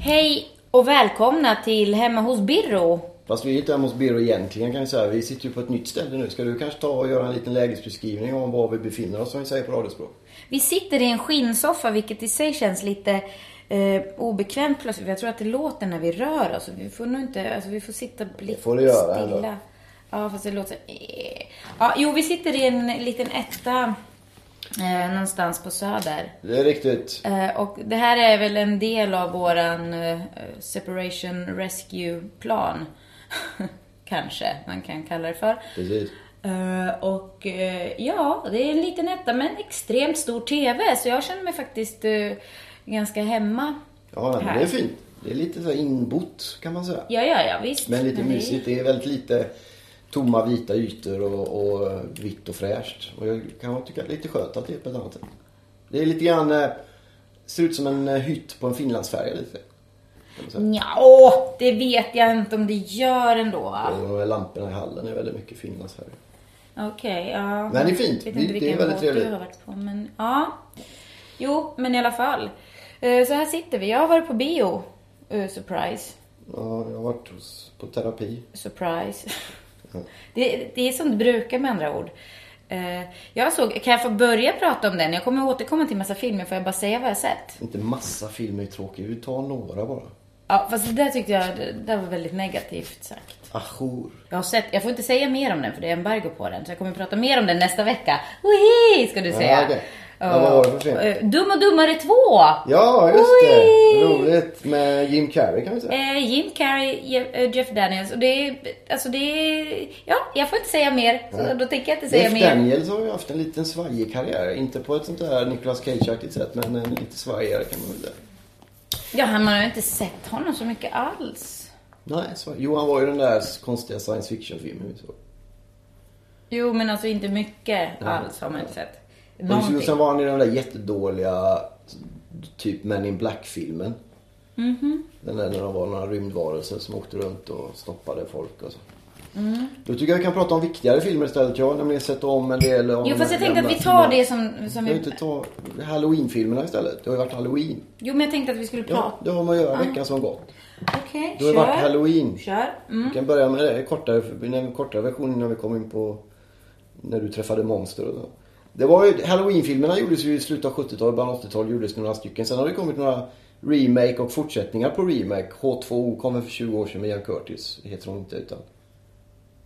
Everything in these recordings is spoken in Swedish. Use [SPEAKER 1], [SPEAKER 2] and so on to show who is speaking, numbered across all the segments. [SPEAKER 1] Hej och välkomna till Hemma hos Birro.
[SPEAKER 2] Fast vi är inte hemma hos Birro egentligen kan jag säga. Vi sitter ju på ett nytt ställe nu. Ska du kanske ta och göra en liten lägesbeskrivning om var vi befinner oss som vi säger på radiospråk?
[SPEAKER 1] Vi sitter i en skinnsoffa, vilket i sig känns lite eh, obekvämt plötsligt. Jag tror att det låter när vi rör oss. Vi får nog inte, alltså vi får sitta blick
[SPEAKER 2] får du göra
[SPEAKER 1] stilla.
[SPEAKER 2] ändå.
[SPEAKER 1] Ja, fast det låter... Eh. Ja, jo, vi sitter i en liten etta eh, någonstans på Söder.
[SPEAKER 2] Det är riktigt.
[SPEAKER 1] Eh, och det här är väl en del av våran eh, separation rescue-plan. Kanske man kan kalla det för.
[SPEAKER 2] Precis.
[SPEAKER 1] Eh, och eh, ja, det är en liten etta men en extremt stor TV. Så jag känner mig faktiskt eh, ganska hemma.
[SPEAKER 2] Ja, nej, men det
[SPEAKER 1] Här.
[SPEAKER 2] är fint. Det är lite så här inbott kan man säga.
[SPEAKER 1] Ja, ja, ja visst.
[SPEAKER 2] Men lite
[SPEAKER 1] det-
[SPEAKER 2] mysigt. Det är väldigt lite tomma vita ytor och, och vitt och fräscht. Och jag kan tycka lite skönt att det är på ett annat sätt. Det är lite grann, eh, ser ut som en eh, hytt på en finlandsfärja lite. Kan man säga.
[SPEAKER 1] Nja, åh, det vet jag inte om det gör ändå. va?
[SPEAKER 2] Och lamporna i hallen är väldigt mycket finlandsfärger.
[SPEAKER 1] Okej, ja.
[SPEAKER 2] Men det är fint.
[SPEAKER 1] Vet
[SPEAKER 2] Det-
[SPEAKER 1] inte
[SPEAKER 2] det är
[SPEAKER 1] vilken
[SPEAKER 2] väldigt
[SPEAKER 1] båt
[SPEAKER 2] trevligt.
[SPEAKER 1] du har varit på, men ja. Jo, men i alla fall. Eh, Så här sitter vi. Jag har varit på bio. Eh, Surprise.
[SPEAKER 2] Ja, jag har varit hos, på terapi.
[SPEAKER 1] Surprise.
[SPEAKER 2] Ja.
[SPEAKER 1] Det, det är som det brukar med andra ord. Eh, Jag såg, kan jag få börja prata om den? Jag kommer återkomma till massa filmer, får jag bara säga vad jag sett?
[SPEAKER 2] Inte massa filmer är tråkiga, vi tar några bara.
[SPEAKER 1] Ja, fast det där tyckte jag, det där var väldigt negativt sagt.
[SPEAKER 2] Ajour.
[SPEAKER 1] Jag har sett, jag får inte säga mer om den för det är embargo på den, så jag kommer prata mer om den nästa vecka. Wohi, ska du säga.
[SPEAKER 2] okej. Ja, vad var det för film?
[SPEAKER 1] Eh, Dum och dummare 2!
[SPEAKER 2] Ja, just
[SPEAKER 1] Oj!
[SPEAKER 2] det! Roligt med Jim Carrey kan vi säga.
[SPEAKER 1] Eh, Jim Carrey, Je- eh, Jeff Daniels och det är, alltså det är, ja, jag får inte säga mer. Så
[SPEAKER 2] Nej.
[SPEAKER 1] då tänker jag inte säga
[SPEAKER 2] Jeff
[SPEAKER 1] mer.
[SPEAKER 2] Daniels har ju haft en liten svajig karriär. Inte på ett sånt där Nicolas Cage-aktigt sätt, men en lite svajigare kan man väl säga.
[SPEAKER 1] Ja, han man har ju inte sett honom så mycket alls.
[SPEAKER 2] Nej, svaj... Jo, han var ju den där konstiga science fiction-filmen vi såg.
[SPEAKER 1] Jo, men alltså inte mycket alls har man inte sett.
[SPEAKER 2] Och
[SPEAKER 1] Någonting.
[SPEAKER 2] just- sen var han i den där jättedåliga typ Men in Black-filmen.
[SPEAKER 1] Mhm.
[SPEAKER 2] Den där när de var några rymdvarelser som åkte runt och stoppade folk och så.
[SPEAKER 1] Mm.
[SPEAKER 2] Då tycker jag vi kan prata om viktigare filmer istället. Jag har nämligen sett om en del av
[SPEAKER 1] Jo,
[SPEAKER 2] de
[SPEAKER 1] fast
[SPEAKER 2] här
[SPEAKER 1] jag tänkte att
[SPEAKER 2] gamla
[SPEAKER 1] vi tar
[SPEAKER 2] filmerna.
[SPEAKER 1] det som, som
[SPEAKER 2] Kan vi
[SPEAKER 1] vi...
[SPEAKER 2] inte ta halloween-filmerna istället? Det har ju varit halloween.
[SPEAKER 1] Jo, men jag tänkte att vi skulle
[SPEAKER 2] Ja,
[SPEAKER 1] prata.
[SPEAKER 2] det har man att göra veckan som gått.
[SPEAKER 1] Okej,
[SPEAKER 2] Det har ju
[SPEAKER 1] kör.
[SPEAKER 2] varit halloween.
[SPEAKER 1] Kör. Mm.
[SPEAKER 2] Vi kan börja med det, kortare, en kortare version innan vi kom in på när du träffade monster och så. Det var ju, Halloween-filmerna gjordes ju i slutet av 70-talet, början av 80-talet gjordes några stycken. Sen har det kommit några remake och fortsättningar på remake. H2O kom väl för 20 år sedan med Ian Curtis, heter hon inte utan...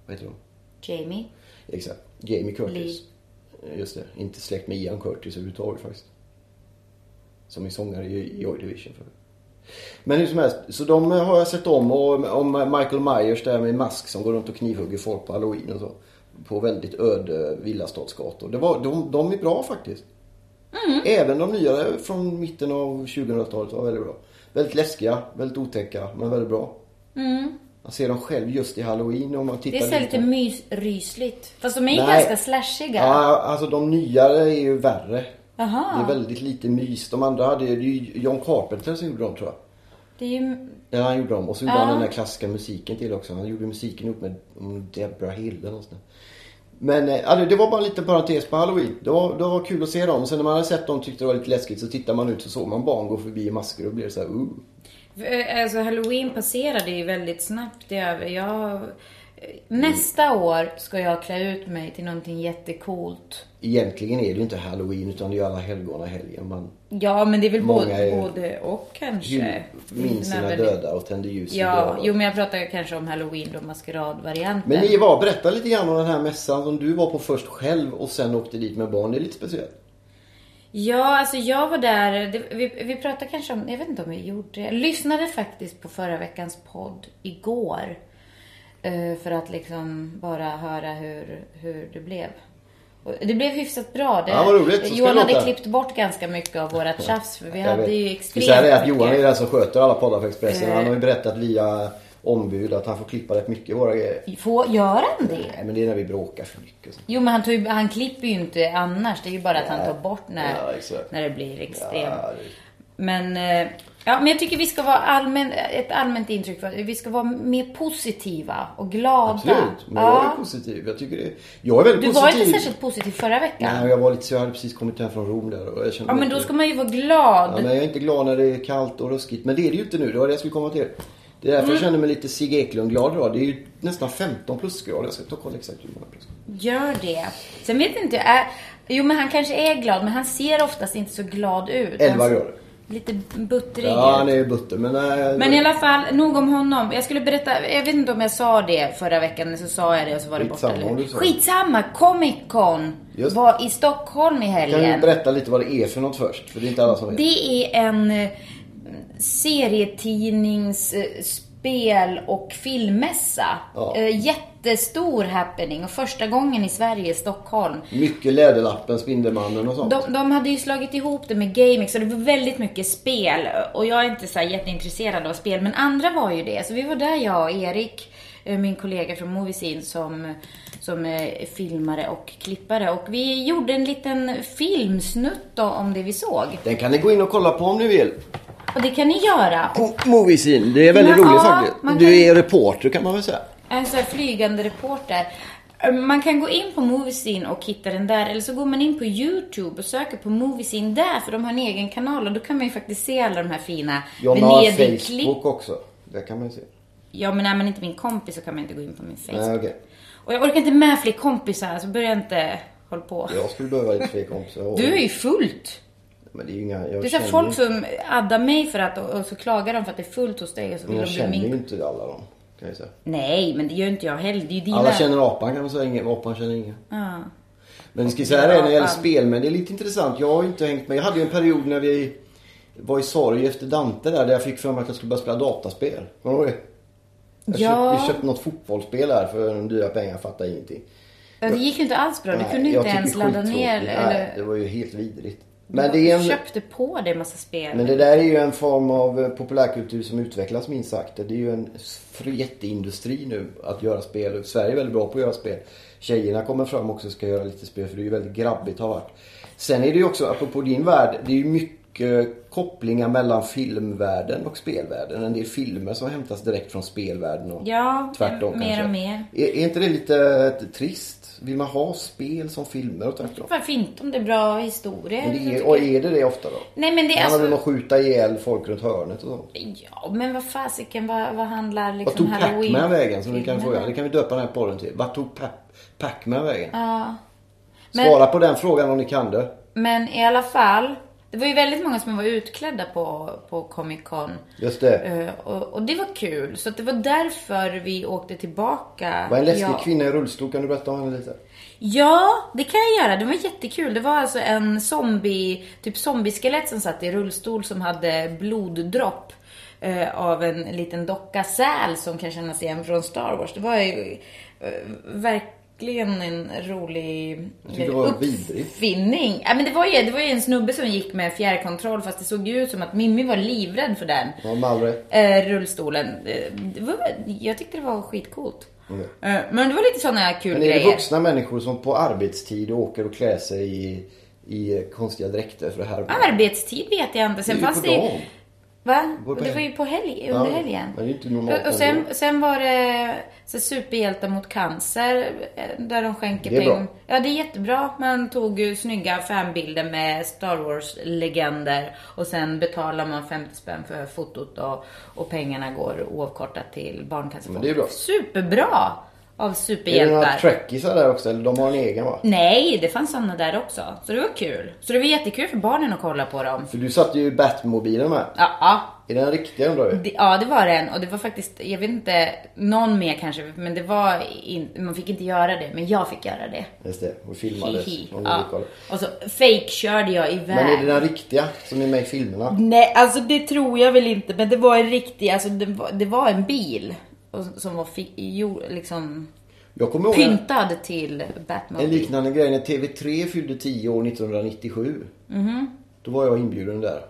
[SPEAKER 2] Vad heter hon?
[SPEAKER 1] Jamie.
[SPEAKER 2] Exakt. Jamie Curtis. Just det, inte släkt med Ian Curtis överhuvudtaget faktiskt. Som är sångare i i Joy Division. För. Men hur som helst, så de har jag sett om. Och om Michael Myers där med mask som går runt och knivhugger folk på halloween och så. På väldigt öde villastadsgator. Det var, de, de är bra faktiskt.
[SPEAKER 1] Mm.
[SPEAKER 2] Även de nya från mitten av 2000-talet var väldigt bra. Väldigt läskiga, väldigt otäcka, men väldigt bra. Man ser dem själv just i halloween om man
[SPEAKER 1] Mm. Det
[SPEAKER 2] tittar
[SPEAKER 1] är så här lite mysrysligt. Fast de är ju
[SPEAKER 2] Nej.
[SPEAKER 1] ganska slashiga.
[SPEAKER 2] Ja, alltså de nyare är ju värre.
[SPEAKER 1] Jaha.
[SPEAKER 2] Det är väldigt lite mys. De andra hade det är ju John Carpenter som gjorde dem tror jag.
[SPEAKER 1] Det är ju...
[SPEAKER 2] Ja, han gjorde dem. Och så gjorde
[SPEAKER 1] Ja.
[SPEAKER 2] han den där klassiska musiken till också. Han gjorde musiken ihop med mm, Deborah Hill eller något sånt där. Men eh, ja, det- det var bara en liten parentes på halloween. Det var, det var kul att se dem. Sen när man hade sett dem och tyckte det var lite läskigt så tittar man ut så såg man barn gå förbi i masker och blev så här uh.
[SPEAKER 1] Eh, Alltså halloween passerade ju väldigt snabbt över. Jag... eh, Nästa år ska jag klä ut mig till någonting jättecoolt.
[SPEAKER 2] Egentligen är det ju inte halloween utan det är ju alla helgona helgen. Man
[SPEAKER 1] Ja, men det är väl
[SPEAKER 2] Många
[SPEAKER 1] både,
[SPEAKER 2] är-
[SPEAKER 1] både och kanske.
[SPEAKER 2] hyll-
[SPEAKER 1] Det är inte
[SPEAKER 2] minns sina
[SPEAKER 1] nödvändigt.
[SPEAKER 2] döda och tänder ljus i
[SPEAKER 1] Ja,
[SPEAKER 2] döda.
[SPEAKER 1] jo men jag pratar ju kanske om halloween då, maskeradvarianten.
[SPEAKER 2] Men ni var, berätta lite grann om den här mässan som du var på först själv och sen åkte dit med barn. Det är lite speciellt.
[SPEAKER 1] Ja, alltså jag var där, det, vi, vi pratade kanske om, jag vet inte om vi gjorde Jag lyssnade faktiskt på förra veckans podd igår. eh, För att liksom bara höra hur, hur det blev. Och Det blev hyfsat bra. Det,
[SPEAKER 2] Ja, vad roligt. Så ska
[SPEAKER 1] Johan
[SPEAKER 2] det
[SPEAKER 1] hade
[SPEAKER 2] låta.
[SPEAKER 1] klippt bort ganska mycket av vårat tjafs. För vi
[SPEAKER 2] Jag
[SPEAKER 1] hade
[SPEAKER 2] vet.
[SPEAKER 1] ju
[SPEAKER 2] Ska vi säga
[SPEAKER 1] extremt
[SPEAKER 2] det att Johan är
[SPEAKER 1] mycket.
[SPEAKER 2] den som sköter alla poddar för Expressen.
[SPEAKER 1] Eh.
[SPEAKER 2] Han har ju berättat via ombud att han får klippa rätt mycket i våra grejer.
[SPEAKER 1] Får, gör han det?
[SPEAKER 2] Nej men det är när vi bråkar för mycket. och sånt.
[SPEAKER 1] Jo, men han, tar ju, han klipper ju inte annars. Det är ju bara att han tar bort när,
[SPEAKER 2] Ja, exakt.
[SPEAKER 1] när det blir extremt.
[SPEAKER 2] Ja, det-
[SPEAKER 1] Men, eh, ja, men jag tycker vi ska vara allmän, ett allmänt intryck. För, vi ska vara mer positiva och glada.
[SPEAKER 2] Absolut, men jag är
[SPEAKER 1] ja.
[SPEAKER 2] positiv. Jag, tycker det, jag är väldigt
[SPEAKER 1] Du var
[SPEAKER 2] positiv.
[SPEAKER 1] inte särskilt positiv förra veckan.
[SPEAKER 2] Nej, jag var lite så jag hade precis kommit hem från Rom där och jag kände
[SPEAKER 1] ja, men
[SPEAKER 2] mig
[SPEAKER 1] då
[SPEAKER 2] inte-
[SPEAKER 1] ska man ju vara glad.
[SPEAKER 2] Ja, men jag är inte glad när det är kallt och ruskigt. Men det är det ju inte nu. Det var det jag skulle komma till. Det är därför
[SPEAKER 1] Mm.
[SPEAKER 2] jag känner mig lite Sigge Eklund-glad idag. Det är ju nästan 15 plusgrader. Jag ska ta och kolla exakt hur många plusgrader.
[SPEAKER 1] Gör det. Sen vet inte jag. Är, jo, men han kanske är glad, men han ser oftast inte så glad ut. Han
[SPEAKER 2] 11
[SPEAKER 1] ser
[SPEAKER 2] grader.
[SPEAKER 1] Lite buttrig
[SPEAKER 2] Ja,
[SPEAKER 1] ut.
[SPEAKER 2] han är ju butter. Men, eh, nej,
[SPEAKER 1] Men i alla fall, nog om honom. Jag skulle berätta, jag vet inte om jag sa det förra veckan, så sa jag det och så var det borta.
[SPEAKER 2] Skitsamma om du
[SPEAKER 1] Eller?
[SPEAKER 2] sa det.
[SPEAKER 1] Skitsamma, Comic Con
[SPEAKER 2] Just.
[SPEAKER 1] var i Stockholm i
[SPEAKER 2] Kan du
[SPEAKER 1] helgen.
[SPEAKER 2] berätta lite vad det är för något först? För det är inte alla som vet.
[SPEAKER 1] Det är en eh, serietidnings eh, spel och filmmässa.
[SPEAKER 2] Ja.
[SPEAKER 1] Eh, Jättestor happening och första gången i Sverige, Stockholm.
[SPEAKER 2] Mycket Läderlappen, Spindelmannen och sånt.
[SPEAKER 1] De, de hade ju slagit ihop det med GameX så det var väldigt mycket spel. Och jag är inte så här jätteintresserad av spel, men andra var ju det. Så vi var där, jag och Erik, eh, min kollega från Moviesin som, som är filmare och klippare. Och vi gjorde en liten filmsnutt då om det vi såg.
[SPEAKER 2] Den kan ni gå in och kolla på om ni vill.
[SPEAKER 1] Och det kan ni göra.
[SPEAKER 2] På Moviescene. Det är väldigt
[SPEAKER 1] Ja,
[SPEAKER 2] roligt faktiskt.
[SPEAKER 1] man
[SPEAKER 2] Du
[SPEAKER 1] kan-
[SPEAKER 2] är reporter kan man väl säga.
[SPEAKER 1] En sån här flygande reporter. Eh, Man kan gå in på Moviesin och hitta den där, eller så går man in på YouTube och söker på Moviesin där, för de har en egen kanal och då kan man ju faktiskt se alla de här fina
[SPEAKER 2] Jonna har
[SPEAKER 1] Venedig-klipp.
[SPEAKER 2] Facebook också. Det kan man ju se.
[SPEAKER 1] Ja, men är man inte min kompis så kan man inte gå in på min Facebook.
[SPEAKER 2] Nej, okej.
[SPEAKER 1] Och jag orkar inte med fler kompisar, så börja inte hålla på.
[SPEAKER 2] Jag skulle behöva lite fler kompisar.
[SPEAKER 1] Du är ju fullt.
[SPEAKER 2] Men det är ju inga... Jag
[SPEAKER 1] Det är så här
[SPEAKER 2] känner ju-
[SPEAKER 1] folk som addar mig för att, och- och så klagar de för att det är fullt hos dig och så
[SPEAKER 2] Men
[SPEAKER 1] vill
[SPEAKER 2] jag
[SPEAKER 1] de bli
[SPEAKER 2] känner ju
[SPEAKER 1] min...
[SPEAKER 2] inte alla dem. Kan jag säga.
[SPEAKER 1] Nej, men det gör inte jag heller. Det är ju dina...
[SPEAKER 2] Alla känner apan kan man säga. Ingen, apan känner ingen.
[SPEAKER 1] Ja.
[SPEAKER 2] Men vi ska säga det när det gäller
[SPEAKER 1] Apan.
[SPEAKER 2] spel. Men det är lite intressant. Jag har ju inte hängt med. Jag hade ju en period när vi var i sorg efter Dante där. Där jag fick för mig att jag skulle börja spela dataspel. Kommer du ihåg det? Jag
[SPEAKER 1] Ja.
[SPEAKER 2] köpte, köpte något fotbollsspel här för en dyra pengar. Jag fattade ingenting.
[SPEAKER 1] Ja, det gick ju inte alls bra. Du
[SPEAKER 2] Nej,
[SPEAKER 1] kunde
[SPEAKER 2] jag
[SPEAKER 1] inte
[SPEAKER 2] tycker
[SPEAKER 1] ens ladda
[SPEAKER 2] skittråkigt.
[SPEAKER 1] ner
[SPEAKER 2] Nej, det
[SPEAKER 1] eller...
[SPEAKER 2] var ju helt vidrigt. Men det är en...
[SPEAKER 1] Du köpte på dig en massa spel.
[SPEAKER 2] Men det där är ju en form av eh, populärkultur som utvecklas minst sagt. Det är ju en fr- jätteindustri nu att göra spel. Sverige är väldigt bra på att göra spel. Tjejerna kommer fram också och ska göra lite spel för det är ju väldigt grabbigt har varit. Sen är det ju också, apropå din värld, det är ju mycket kopplingar mellan filmvärlden och spelvärlden. En del filmer som hämtas direkt från spelvärlden och
[SPEAKER 1] Ja,
[SPEAKER 2] tvärtom
[SPEAKER 1] mer
[SPEAKER 2] kanske.
[SPEAKER 1] och mer.
[SPEAKER 2] Är, är inte det lite eh, trist? Vill man ha spel som filmer och tvärtom?
[SPEAKER 1] Varför inte om det är bra historier?
[SPEAKER 2] Men det är,
[SPEAKER 1] tycker
[SPEAKER 2] och
[SPEAKER 1] jag.
[SPEAKER 2] är det det ofta då?
[SPEAKER 1] Nej, men det är
[SPEAKER 2] Handlar det om
[SPEAKER 1] alltså- Liksom
[SPEAKER 2] att skjuta ihjäl folk runt hörnet och sånt?
[SPEAKER 1] Ja, men vad fasiken, vad, vad handlar
[SPEAKER 2] Vart
[SPEAKER 1] liksom
[SPEAKER 2] tog Pac-Man vägen? Som vi kan fråga. Det
[SPEAKER 1] filmerna?
[SPEAKER 2] kan vi döpa den här podden till. Vart tog Pa- Pac-Man vägen?
[SPEAKER 1] Ja.
[SPEAKER 2] Svara på den frågan om ni kan det.
[SPEAKER 1] Men i alla fall, det var ju väldigt många som var utklädda på, på Comic Con.
[SPEAKER 2] Just det.
[SPEAKER 1] Eh, och, och det var kul, så att det var därför vi åkte tillbaka.
[SPEAKER 2] Var en läskig
[SPEAKER 1] Ja.
[SPEAKER 2] kvinna i rullstol. Kan du berätta om henne lite?
[SPEAKER 1] Ja, det kan jag göra. Det var jättekul. Det var alltså en zombie, typ zombieskelett som satt i rullstol som hade bloddropp eh, av en liten docka säl som kan kännas igen från Star Wars. Det var ju eh, verkligen en rolig
[SPEAKER 2] tyckte det var vidrigt.
[SPEAKER 1] uppfinning. Ja, men det, var ju, det var ju en snubbe som gick med fjärrkontroll fast det såg ju ut som att Mimmi var livrädd för den
[SPEAKER 2] Ja, med all rätt.
[SPEAKER 1] eh, rullstolen. Eh, Det var, jag tyckte det var skitcoolt.
[SPEAKER 2] Mm.
[SPEAKER 1] Eh, Men det var lite sådana kul
[SPEAKER 2] Men är
[SPEAKER 1] grejer.
[SPEAKER 2] det vuxna människor som på arbetstid åker och klär sig i, i konstiga dräkter för det här?
[SPEAKER 1] Arbetstid vet jag inte. Sen
[SPEAKER 2] Det är ju
[SPEAKER 1] fanns
[SPEAKER 2] på
[SPEAKER 1] det
[SPEAKER 2] dagen.
[SPEAKER 1] Va?
[SPEAKER 2] går på
[SPEAKER 1] det var
[SPEAKER 2] helg.
[SPEAKER 1] ju på helg,
[SPEAKER 2] Ja,
[SPEAKER 1] under helgen.
[SPEAKER 2] men det är ju inte normalt
[SPEAKER 1] Och- Och sen, sen var det så superhjältar mot cancer, eh, där de skänker
[SPEAKER 2] Det är bra.
[SPEAKER 1] pengar. Ja, det är jättebra. Man tog ju snygga fanbilder med Star Wars-legender och sen betalar man 50 spänn för fotot och, och pengarna går oavkortat till
[SPEAKER 2] Men det är bra.
[SPEAKER 1] Barncancerfonden. Superbra av
[SPEAKER 2] Är det några
[SPEAKER 1] superhjältar.
[SPEAKER 2] trackisar där också? Eller de har en egen va?
[SPEAKER 1] Nej, det fanns sådana där också. Så det var kul. Så det var jättekul för barnen att kolla på dem.
[SPEAKER 2] För du satte ju Batmobilen med.
[SPEAKER 1] Ja, ja.
[SPEAKER 2] Är den riktiga undrar vi?
[SPEAKER 1] Det, ja, det var den. Och det var faktiskt, jag vet inte, någon mer kanske, men det var in, man fick inte göra det, men jag fick göra det.
[SPEAKER 2] Just det, och filmades.
[SPEAKER 1] Hihi.
[SPEAKER 2] Om ni vill
[SPEAKER 1] Ja.
[SPEAKER 2] kolla.
[SPEAKER 1] Och så fake-körde jag iväg.
[SPEAKER 2] Men är det den riktiga som är med i filmerna?
[SPEAKER 1] Nej, alltså det tror jag väl inte, men det var en riktig, alltså det var, det var en bil. Och, som var fi, jo, liksom
[SPEAKER 2] Jag kommer ihåg en,
[SPEAKER 1] Pyntad till
[SPEAKER 2] en
[SPEAKER 1] Batmobile.
[SPEAKER 2] liknande grej när TV3 fyllde 10 år 1997. Då var jag inbjuden där.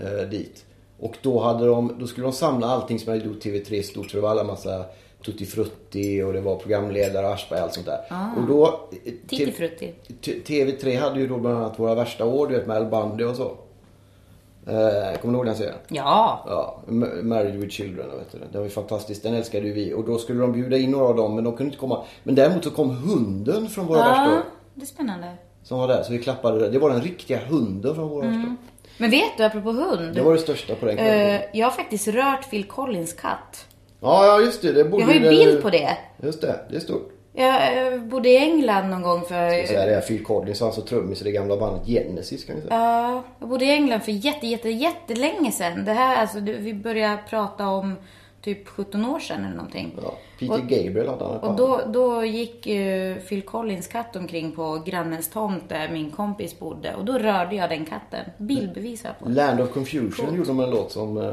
[SPEAKER 2] Eh, dit. Och då, hade de, då skulle de samla allting som hade gjort TV3 stort. Så det var alla massa Tutti Frutti och det var programledare och Aschberg och allt sånt där. Och då, eh,
[SPEAKER 1] Titti Frutti.
[SPEAKER 2] T- TV3 hade ju då bland annat Våra värsta år, du vet med Al Bundy och så. Eh, kommer du ihåg den serien?
[SPEAKER 1] Ja.
[SPEAKER 2] Ja, Ma- Married with Children, vet du. den var ju fantastisk. Den älskade ju vi. Och då skulle de bjuda in några av dem, men de kunde inte komma. Men däremot så kom hunden från Våra värsta
[SPEAKER 1] ja.
[SPEAKER 2] år.
[SPEAKER 1] Det är spännande.
[SPEAKER 2] Som var där, så vi klappade där. Det var den riktiga hunden från Våra värsta år.
[SPEAKER 1] Men vet du, apropå hund.
[SPEAKER 2] Det var det största på den kvällen.
[SPEAKER 1] Mm. eh, jag har faktiskt rört Phil Collins katt.
[SPEAKER 2] Ja, ja just det. det borde
[SPEAKER 1] Jag har ju
[SPEAKER 2] det-
[SPEAKER 1] bild på det.
[SPEAKER 2] Just det, det är stort.
[SPEAKER 1] Jag eh, bodde i England någon gång för...
[SPEAKER 2] Så här är Phil Collins, alltså trummis i det gamla bandet Genesis kan vi säga.
[SPEAKER 1] Ja, jag bodde i England för jätte, jätte, jättelänge sedan. Det här, alltså, du- vi började prata om typ 17 år sedan eller någonting.
[SPEAKER 2] Ja, Peter Gabriel hade han ett
[SPEAKER 1] Och
[SPEAKER 2] band.
[SPEAKER 1] då, då gick eh, Phil Collins katt omkring på grannens tomt där min kompis bodde. Och då rörde jag den katten. Bildbevis har jag på.
[SPEAKER 2] Land of Confusion gjorde de en låt som eh,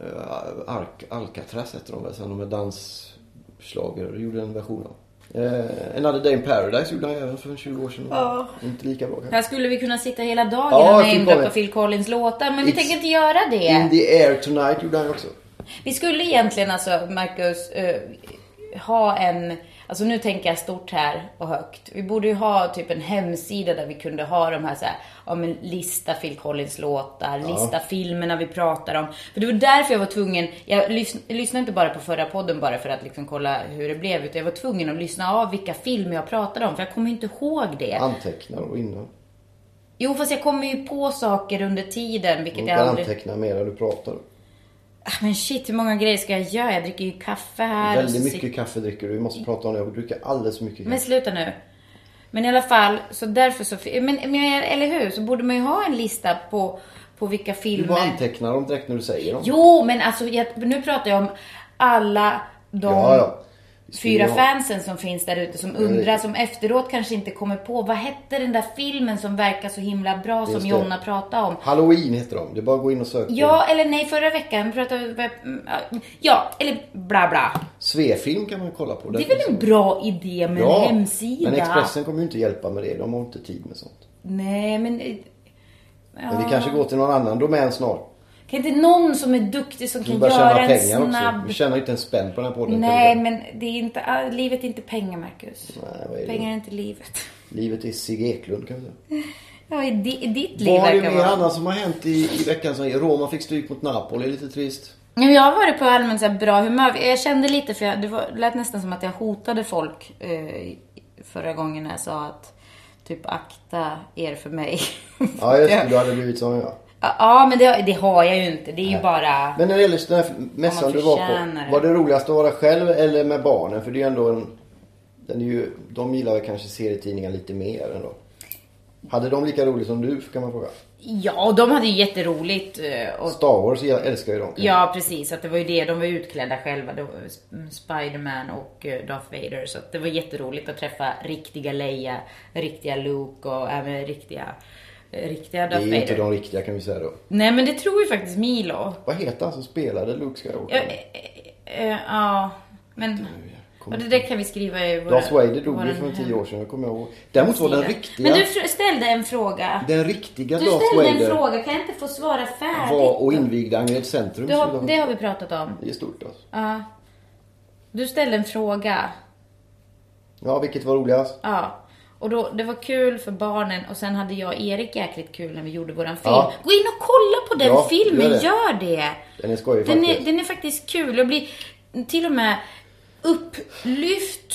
[SPEAKER 2] eh, Ark, Alcatraz hette de väl sen, de är dansschlager gjorde en version av. Eh, Another Day in Paradise gjorde han även för 20 år sedan.
[SPEAKER 1] Ja.
[SPEAKER 2] Inte lika bra kanske.
[SPEAKER 1] Här skulle vi kunna sitta hela
[SPEAKER 2] Ja,
[SPEAKER 1] dagen och
[SPEAKER 2] Phil
[SPEAKER 1] namedroppa
[SPEAKER 2] Collins.
[SPEAKER 1] Phil Collins låtar, men vi
[SPEAKER 2] It's-
[SPEAKER 1] tänker inte göra det.
[SPEAKER 2] In the Air Tonight gjorde han också.
[SPEAKER 1] Vi skulle egentligen alltså, Marcus, eh, ha en... Alltså nu tänker jag stort här och högt. Vi borde ju ha typ en hemsida där vi kunde ha de här så här, ja men lista Phil Collins låtar, lista filmerna vi pratar om. För det var därför jag var tvungen, jag lys- lyssnade inte bara på förra podden bara för att liksom kolla hur det blev, utan jag var tvungen att lyssna av vilka filmer jag pratade om, för jag kommer ju inte ihåg det.
[SPEAKER 2] Antecknar och innan.
[SPEAKER 1] Jo, fast jag kommer ju på saker under tiden, vilket
[SPEAKER 2] Du
[SPEAKER 1] jag
[SPEAKER 2] kan
[SPEAKER 1] aldrig...
[SPEAKER 2] anteckna mer än du pratar.
[SPEAKER 1] Ah, Men shit, hur många grejer ska jag göra? Jag dricker ju kaffe här. och
[SPEAKER 2] Väldigt
[SPEAKER 1] så
[SPEAKER 2] mycket kaffe dricker du. Vi måste prata om det. Du dricker alldeles för mycket
[SPEAKER 1] Men
[SPEAKER 2] kaffe.
[SPEAKER 1] sluta nu. Men i alla fall, så därför så... Men, men eller hur? Så borde man ju ha en lista på, på vilka
[SPEAKER 2] Du bara
[SPEAKER 1] filmer...
[SPEAKER 2] antecknar dem direkt när du säger dem.
[SPEAKER 1] Jo, men alltså jag, nu pratar jag om alla de
[SPEAKER 2] Ja, ja. Vi skulle
[SPEAKER 1] fyra
[SPEAKER 2] ju ha-
[SPEAKER 1] fansen som finns där ute som undrar, som efteråt kanske inte kommer på. Vad hette den där filmen som verkar så himla bra som
[SPEAKER 2] det.
[SPEAKER 1] Jonna pratade om?
[SPEAKER 2] Halloween heter de. Det är bara att gå in och söka.
[SPEAKER 1] Ja, eller nej, förra veckan pratade vi... mm, Ja, eller bla bla.
[SPEAKER 2] Svefilm kan man kolla på. Där
[SPEAKER 1] Det är
[SPEAKER 2] finns
[SPEAKER 1] väl en bra idé med en hemsida?
[SPEAKER 2] Men Expressen kommer ju inte hjälpa med det. De har inte tid med sånt.
[SPEAKER 1] Nej, men... eh,
[SPEAKER 2] Men
[SPEAKER 1] Ja.
[SPEAKER 2] vi kanske går till någon annan domän snart.
[SPEAKER 1] Kan inte någon som är duktig som
[SPEAKER 2] Vi
[SPEAKER 1] kan
[SPEAKER 2] börjar tjäna
[SPEAKER 1] göra en
[SPEAKER 2] pengar också.
[SPEAKER 1] snabb...
[SPEAKER 2] Vi tjänar ju inte en spänn på den här podden.
[SPEAKER 1] Nej,
[SPEAKER 2] men...
[SPEAKER 1] men det är inte, ah, livet är inte pengar, Marcus.
[SPEAKER 2] Nej, vad är det?
[SPEAKER 1] pengar är inte livet.
[SPEAKER 2] Livet är Sigge Eklund kan vi säga.
[SPEAKER 1] Ja, i di, i ditt liv
[SPEAKER 2] Vad är det
[SPEAKER 1] verkar
[SPEAKER 2] mer
[SPEAKER 1] vara...
[SPEAKER 2] annat som har hänt i, i veckan? Som, Roma fick stryk mot Napoli, lite trist.
[SPEAKER 1] Ja, men Jag har varit på allmänt så här bra humör. Jag kände lite, för jag, det var, lät nästan som att jag hotade folk eh, förra gången när jag sa att typ akta er för mig.
[SPEAKER 2] Ja just det, du hade blivit som jag.
[SPEAKER 1] Ja, men det, det har jag ju inte. Det är ju bara...
[SPEAKER 2] Men när det gäller just den här mässan
[SPEAKER 1] man
[SPEAKER 2] du var
[SPEAKER 1] förtjänar
[SPEAKER 2] på.
[SPEAKER 1] det.
[SPEAKER 2] Var det roligast att vara själv eller med barnen? För det är ju ändå en... Den är ju, de gillar väl kanske serietidningar lite mer ändå. Hade de lika roligt som du kan man fråga.
[SPEAKER 1] Ja, och de hade ju jätteroligt. eh, Och,
[SPEAKER 2] Star Wars jag älskar ju dem.
[SPEAKER 1] ja, precis. Att det var ju det. De var ju utklädda själva. Det var Sp- mm, Spiderman och eh, Darth Vader. Så att det var jätteroligt att träffa riktiga Leia, riktiga Luke och även riktiga, eh, riktiga
[SPEAKER 2] Det är
[SPEAKER 1] Darth
[SPEAKER 2] ju inte
[SPEAKER 1] Vader.
[SPEAKER 2] de riktiga kan vi säga då.
[SPEAKER 1] Nej, men det tror ju faktiskt Milo.
[SPEAKER 2] Vad heter han som spelade Luke Skywalker?
[SPEAKER 1] Ja, eh, eh, ja men...
[SPEAKER 2] Kom
[SPEAKER 1] Och det där kan vi skriva i vår...
[SPEAKER 2] Darth Vader dog ju
[SPEAKER 1] vår
[SPEAKER 2] för
[SPEAKER 1] hem-
[SPEAKER 2] tio år sedan, jag kommer ihåg. Däremot var den
[SPEAKER 1] sida.
[SPEAKER 2] riktiga,
[SPEAKER 1] Men du fr- ställde en fråga.
[SPEAKER 2] den riktiga
[SPEAKER 1] Du
[SPEAKER 2] Darth
[SPEAKER 1] ställde en
[SPEAKER 2] Vader
[SPEAKER 1] fråga. Kan jag inte få svara färdigt?
[SPEAKER 2] var och invigde Angered Centrum.
[SPEAKER 1] Du
[SPEAKER 2] så
[SPEAKER 1] har,
[SPEAKER 2] de-
[SPEAKER 1] det har vi pratat om.
[SPEAKER 2] Det är stort alltså.
[SPEAKER 1] Ja. Du ställde en fråga.
[SPEAKER 2] Ja, vilket var roligast?
[SPEAKER 1] Ja. Och då, det var kul för barnen och sen hade jag och Erik jäkligt kul när vi gjorde våran film.
[SPEAKER 2] Ja.
[SPEAKER 1] Gå in och kolla på den
[SPEAKER 2] Ja,
[SPEAKER 1] filmen,
[SPEAKER 2] gör det.
[SPEAKER 1] gör det!
[SPEAKER 2] Den är skojig
[SPEAKER 1] Den är,
[SPEAKER 2] faktiskt.
[SPEAKER 1] den är faktiskt kul och blir till och med upplyft,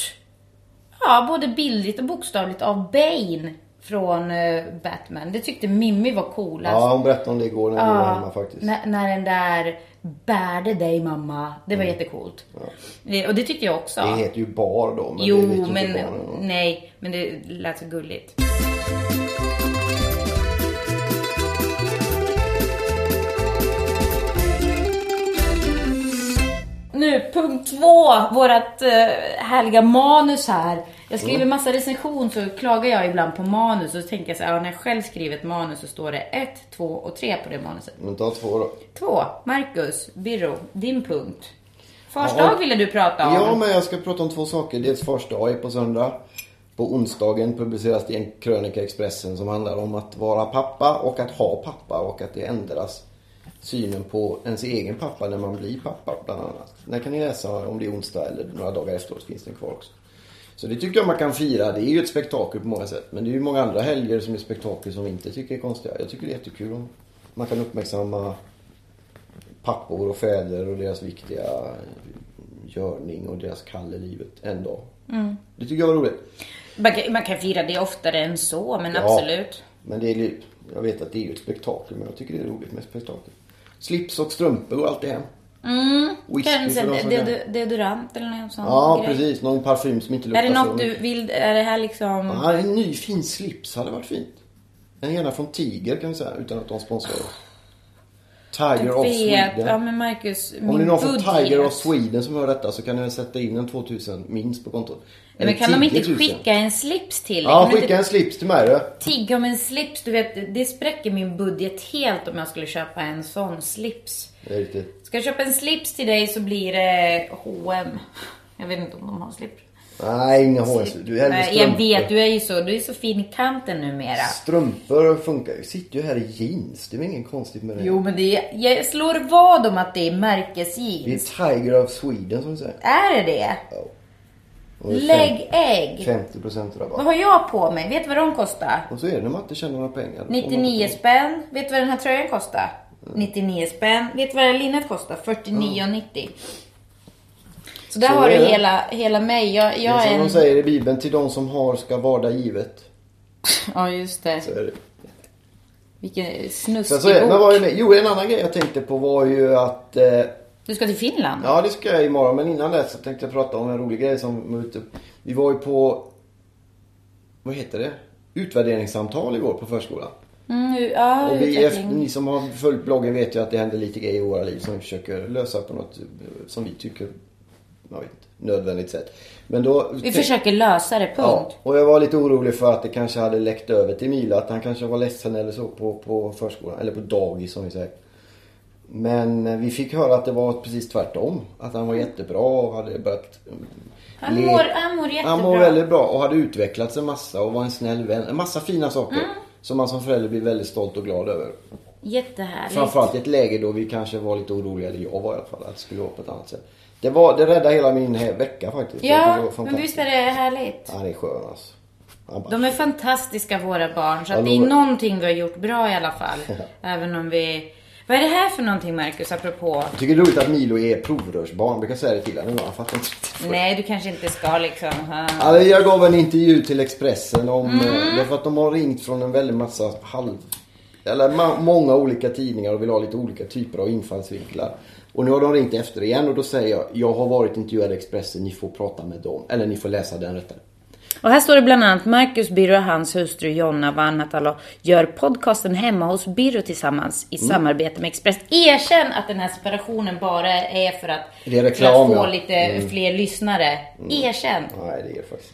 [SPEAKER 1] ja, både bildligt och bokstavligt av Bane från eh, Batman. Det tyckte Mimmi var coolast.
[SPEAKER 2] Ja, hon berättade om det igår när vi var hemma faktiskt.
[SPEAKER 1] När, när den där bärde dig mamma. Det var jättecoolt. Eh, Och det tyckte jag också.
[SPEAKER 2] Mm. Det heter ju bar då, men det
[SPEAKER 1] jo,
[SPEAKER 2] vet ju
[SPEAKER 1] men
[SPEAKER 2] inte barnen. va?
[SPEAKER 1] nej, men det lät så gulligt. Nu, punkt två, vårat eh, härliga manus här. Jag skriver massa recension så klagar jag ibland på manus och så tänker jag så här, ja, när jag själv skriver ett manus så står det ett, två och tre på det manuset.
[SPEAKER 2] Men ta två då.
[SPEAKER 1] Två, Marcus, Birro, din punkt. Fars dag ville du prata om.
[SPEAKER 2] Ja, men jag ska prata om två saker. Dels Fars dag är på söndag. På onsdagen publiceras det en krönika i Expressen som handlar om att vara pappa och att ha pappa och att det ändras synen på ens egen pappa när man blir pappa bland annat. Där kan ni läsa om det är onsdag eller några dagar efteråt finns den kvar också. Så det tycker jag man kan fira. Det är ju ett spektakel på många sätt. Men det är ju många andra helger som är spektakel som vi inte tycker är konstiga. Jag tycker det är jättekul om man kan uppmärksamma pappor och fäder och deras viktiga görning och deras kall i livet en dag.
[SPEAKER 1] Mm.
[SPEAKER 2] Det tycker jag var roligt.
[SPEAKER 1] Man kan, man kan fira det oftare än så, men
[SPEAKER 2] Ja.
[SPEAKER 1] absolut.
[SPEAKER 2] Men det är, ju- jag vet att det är ju ett spektakel men jag tycker det är roligt med spektakel. Slips och strumpor går alltid hem.
[SPEAKER 1] Mm,
[SPEAKER 2] Whisky
[SPEAKER 1] kanske
[SPEAKER 2] för de som
[SPEAKER 1] de-
[SPEAKER 2] kan.
[SPEAKER 1] de- deodorant eller någon sån
[SPEAKER 2] Ja
[SPEAKER 1] grej.
[SPEAKER 2] precis, någon parfym som inte
[SPEAKER 1] Är
[SPEAKER 2] luktar
[SPEAKER 1] det
[SPEAKER 2] så
[SPEAKER 1] något du vill, är det här liksom...
[SPEAKER 2] Ja, en ny fin slips hade varit fint. En gärna från Tiger kan vi säga utan att de sponsrar oss. Tiger
[SPEAKER 1] Jag
[SPEAKER 2] of
[SPEAKER 1] vet, ja
[SPEAKER 2] Sweden.
[SPEAKER 1] men Marcus, min
[SPEAKER 2] Om det är någon från
[SPEAKER 1] budget.
[SPEAKER 2] Tiger of Sweden som hör detta så kan ni väl sätta in en 2000 minst på kontot.
[SPEAKER 1] Nej, men kan de inte
[SPEAKER 2] 10 000?
[SPEAKER 1] skicka en slips till dig?
[SPEAKER 2] Ja,
[SPEAKER 1] Kan du
[SPEAKER 2] skicka en slips till mig du.
[SPEAKER 1] Tigg om en slips, du vet, det spräcker min budget helt om jag skulle köpa en sån slips.
[SPEAKER 2] Det är riktigt.
[SPEAKER 1] Ska jag köpa en slips till dig så blir det H&M. Jag vet inte om de har slips.
[SPEAKER 2] Nej, inga HS. Alltså, Du hellre
[SPEAKER 1] Nej, jag
[SPEAKER 2] strumpor.
[SPEAKER 1] vet, du är ju så, du är så fin i kanten numera.
[SPEAKER 2] Strumpor funkar ju. Sitter ju här i jeans. Det är väl inget konstigt med det.
[SPEAKER 1] Jo, men det är, jag slår vad om att det är
[SPEAKER 2] Det är
[SPEAKER 1] märkesjeans.
[SPEAKER 2] Tiger of Sweden som du säger.
[SPEAKER 1] Är det det?
[SPEAKER 2] Och det är
[SPEAKER 1] Lägg ägg.
[SPEAKER 2] 50%
[SPEAKER 1] Vad
[SPEAKER 2] rabatt.
[SPEAKER 1] har jag på mig? Vet du vad de kostar?
[SPEAKER 2] Och så är det när man inte tjänar några pengar. Då får man inte
[SPEAKER 1] 99 spänn. Vet du vad den här tröjan kostar? 99 spänn. Vet du vad det här linnet kostar? 49,90. Så där
[SPEAKER 2] Så
[SPEAKER 1] har du
[SPEAKER 2] är det.
[SPEAKER 1] hela, hela mig. Jag,
[SPEAKER 2] Det är
[SPEAKER 1] jag är
[SPEAKER 2] som
[SPEAKER 1] en...
[SPEAKER 2] de säger i Bibeln, till de som har ska varda givet.
[SPEAKER 1] Ja, just det.
[SPEAKER 2] Så är det.
[SPEAKER 1] Vilken
[SPEAKER 2] Sen så är,
[SPEAKER 1] snuskig
[SPEAKER 2] men
[SPEAKER 1] bok.
[SPEAKER 2] vad är det? Jo, en annan grej jag tänkte på var ju att... Eh,
[SPEAKER 1] Du ska till Finland?
[SPEAKER 2] ja, det ska jag imorgon. Men innan det så tänkte jag prata om en rolig grej som var ute. Vi var ju på... Vad heter det? Utvärderingssamtal igår på förskolan.
[SPEAKER 1] Mm, nu- ja,
[SPEAKER 2] Och vi, efter,
[SPEAKER 1] utveckling.
[SPEAKER 2] ni som har följt bloggen vet ju att det händer lite grejer i våra liv som vi försöker lösa på något eh, som vi tycker... Jag vet inte, nödvändigt sätt. Men då...
[SPEAKER 1] Vi försöker lösa det,
[SPEAKER 2] Ja,
[SPEAKER 1] punkt.
[SPEAKER 2] och jag var lite orolig för att det kanske hade läckt över till Mila. Att han kanske var ledsen eller så på, på förskolan. Eller på dagis som vi säger. Men eh, vi fick höra att det var precis tvärtom. Att han var jättebra och hade börjat... mm,
[SPEAKER 1] Mm. Han,
[SPEAKER 2] le-
[SPEAKER 1] mår, han mår jättebra.
[SPEAKER 2] han mår väldigt bra och hade utvecklats en massa och var en snäll vän. En massa fina saker.
[SPEAKER 1] Mm.
[SPEAKER 2] Som man som förälder blir väldigt stolt och glad över.
[SPEAKER 1] Jättehärligt.
[SPEAKER 2] Framförallt i ett läge då vi kanske var lite oroliga, eller jag var i alla fall, att det skulle vara på ett annat sätt. Det, var, det räddade hela min he- vecka faktiskt. Jag
[SPEAKER 1] Ja,
[SPEAKER 2] tycker det var
[SPEAKER 1] men
[SPEAKER 2] fantastiskt.
[SPEAKER 1] visst är det härligt?
[SPEAKER 2] Han är skön alltså. Han bara,
[SPEAKER 1] De är fantastiska våra barn, så att det är
[SPEAKER 2] Hallå.
[SPEAKER 1] någonting vi har gjort bra i alla fall. Även om vi... Vad är det här för någonting Marcus, apropå?
[SPEAKER 2] Jag tycker det är roligt att Milo är provrörsbarn. Jag brukar säga det till honom. Han fattar inte riktigt.
[SPEAKER 1] Nej, du kanske inte ska liksom... ha-
[SPEAKER 2] Alltså, jag gav en intervju till Expressen om... eh, Därför att de har ringt från en väldig massa halv... Eller ma- många olika tidningar och vill ha lite olika typer av infallsvinklar. Och nu har de ringt efter igen och då säger jag, jag har varit intervjuad i Expressen, ni får prata med dem. Eller ni får läsa den rättare.
[SPEAKER 1] Och här står det bland annat Marcus Birro och hans hustru Jonna Vanhatalo gör podcasten hemma hos Birro tillsammans i
[SPEAKER 2] Mm.
[SPEAKER 1] samarbete med Express. Erkänn att den här separationen bara är för att,
[SPEAKER 2] Det är reklam,
[SPEAKER 1] för att få
[SPEAKER 2] ja. Mm.
[SPEAKER 1] lite fler lyssnare. Erkänn!
[SPEAKER 2] Nej, det är det faktiskt.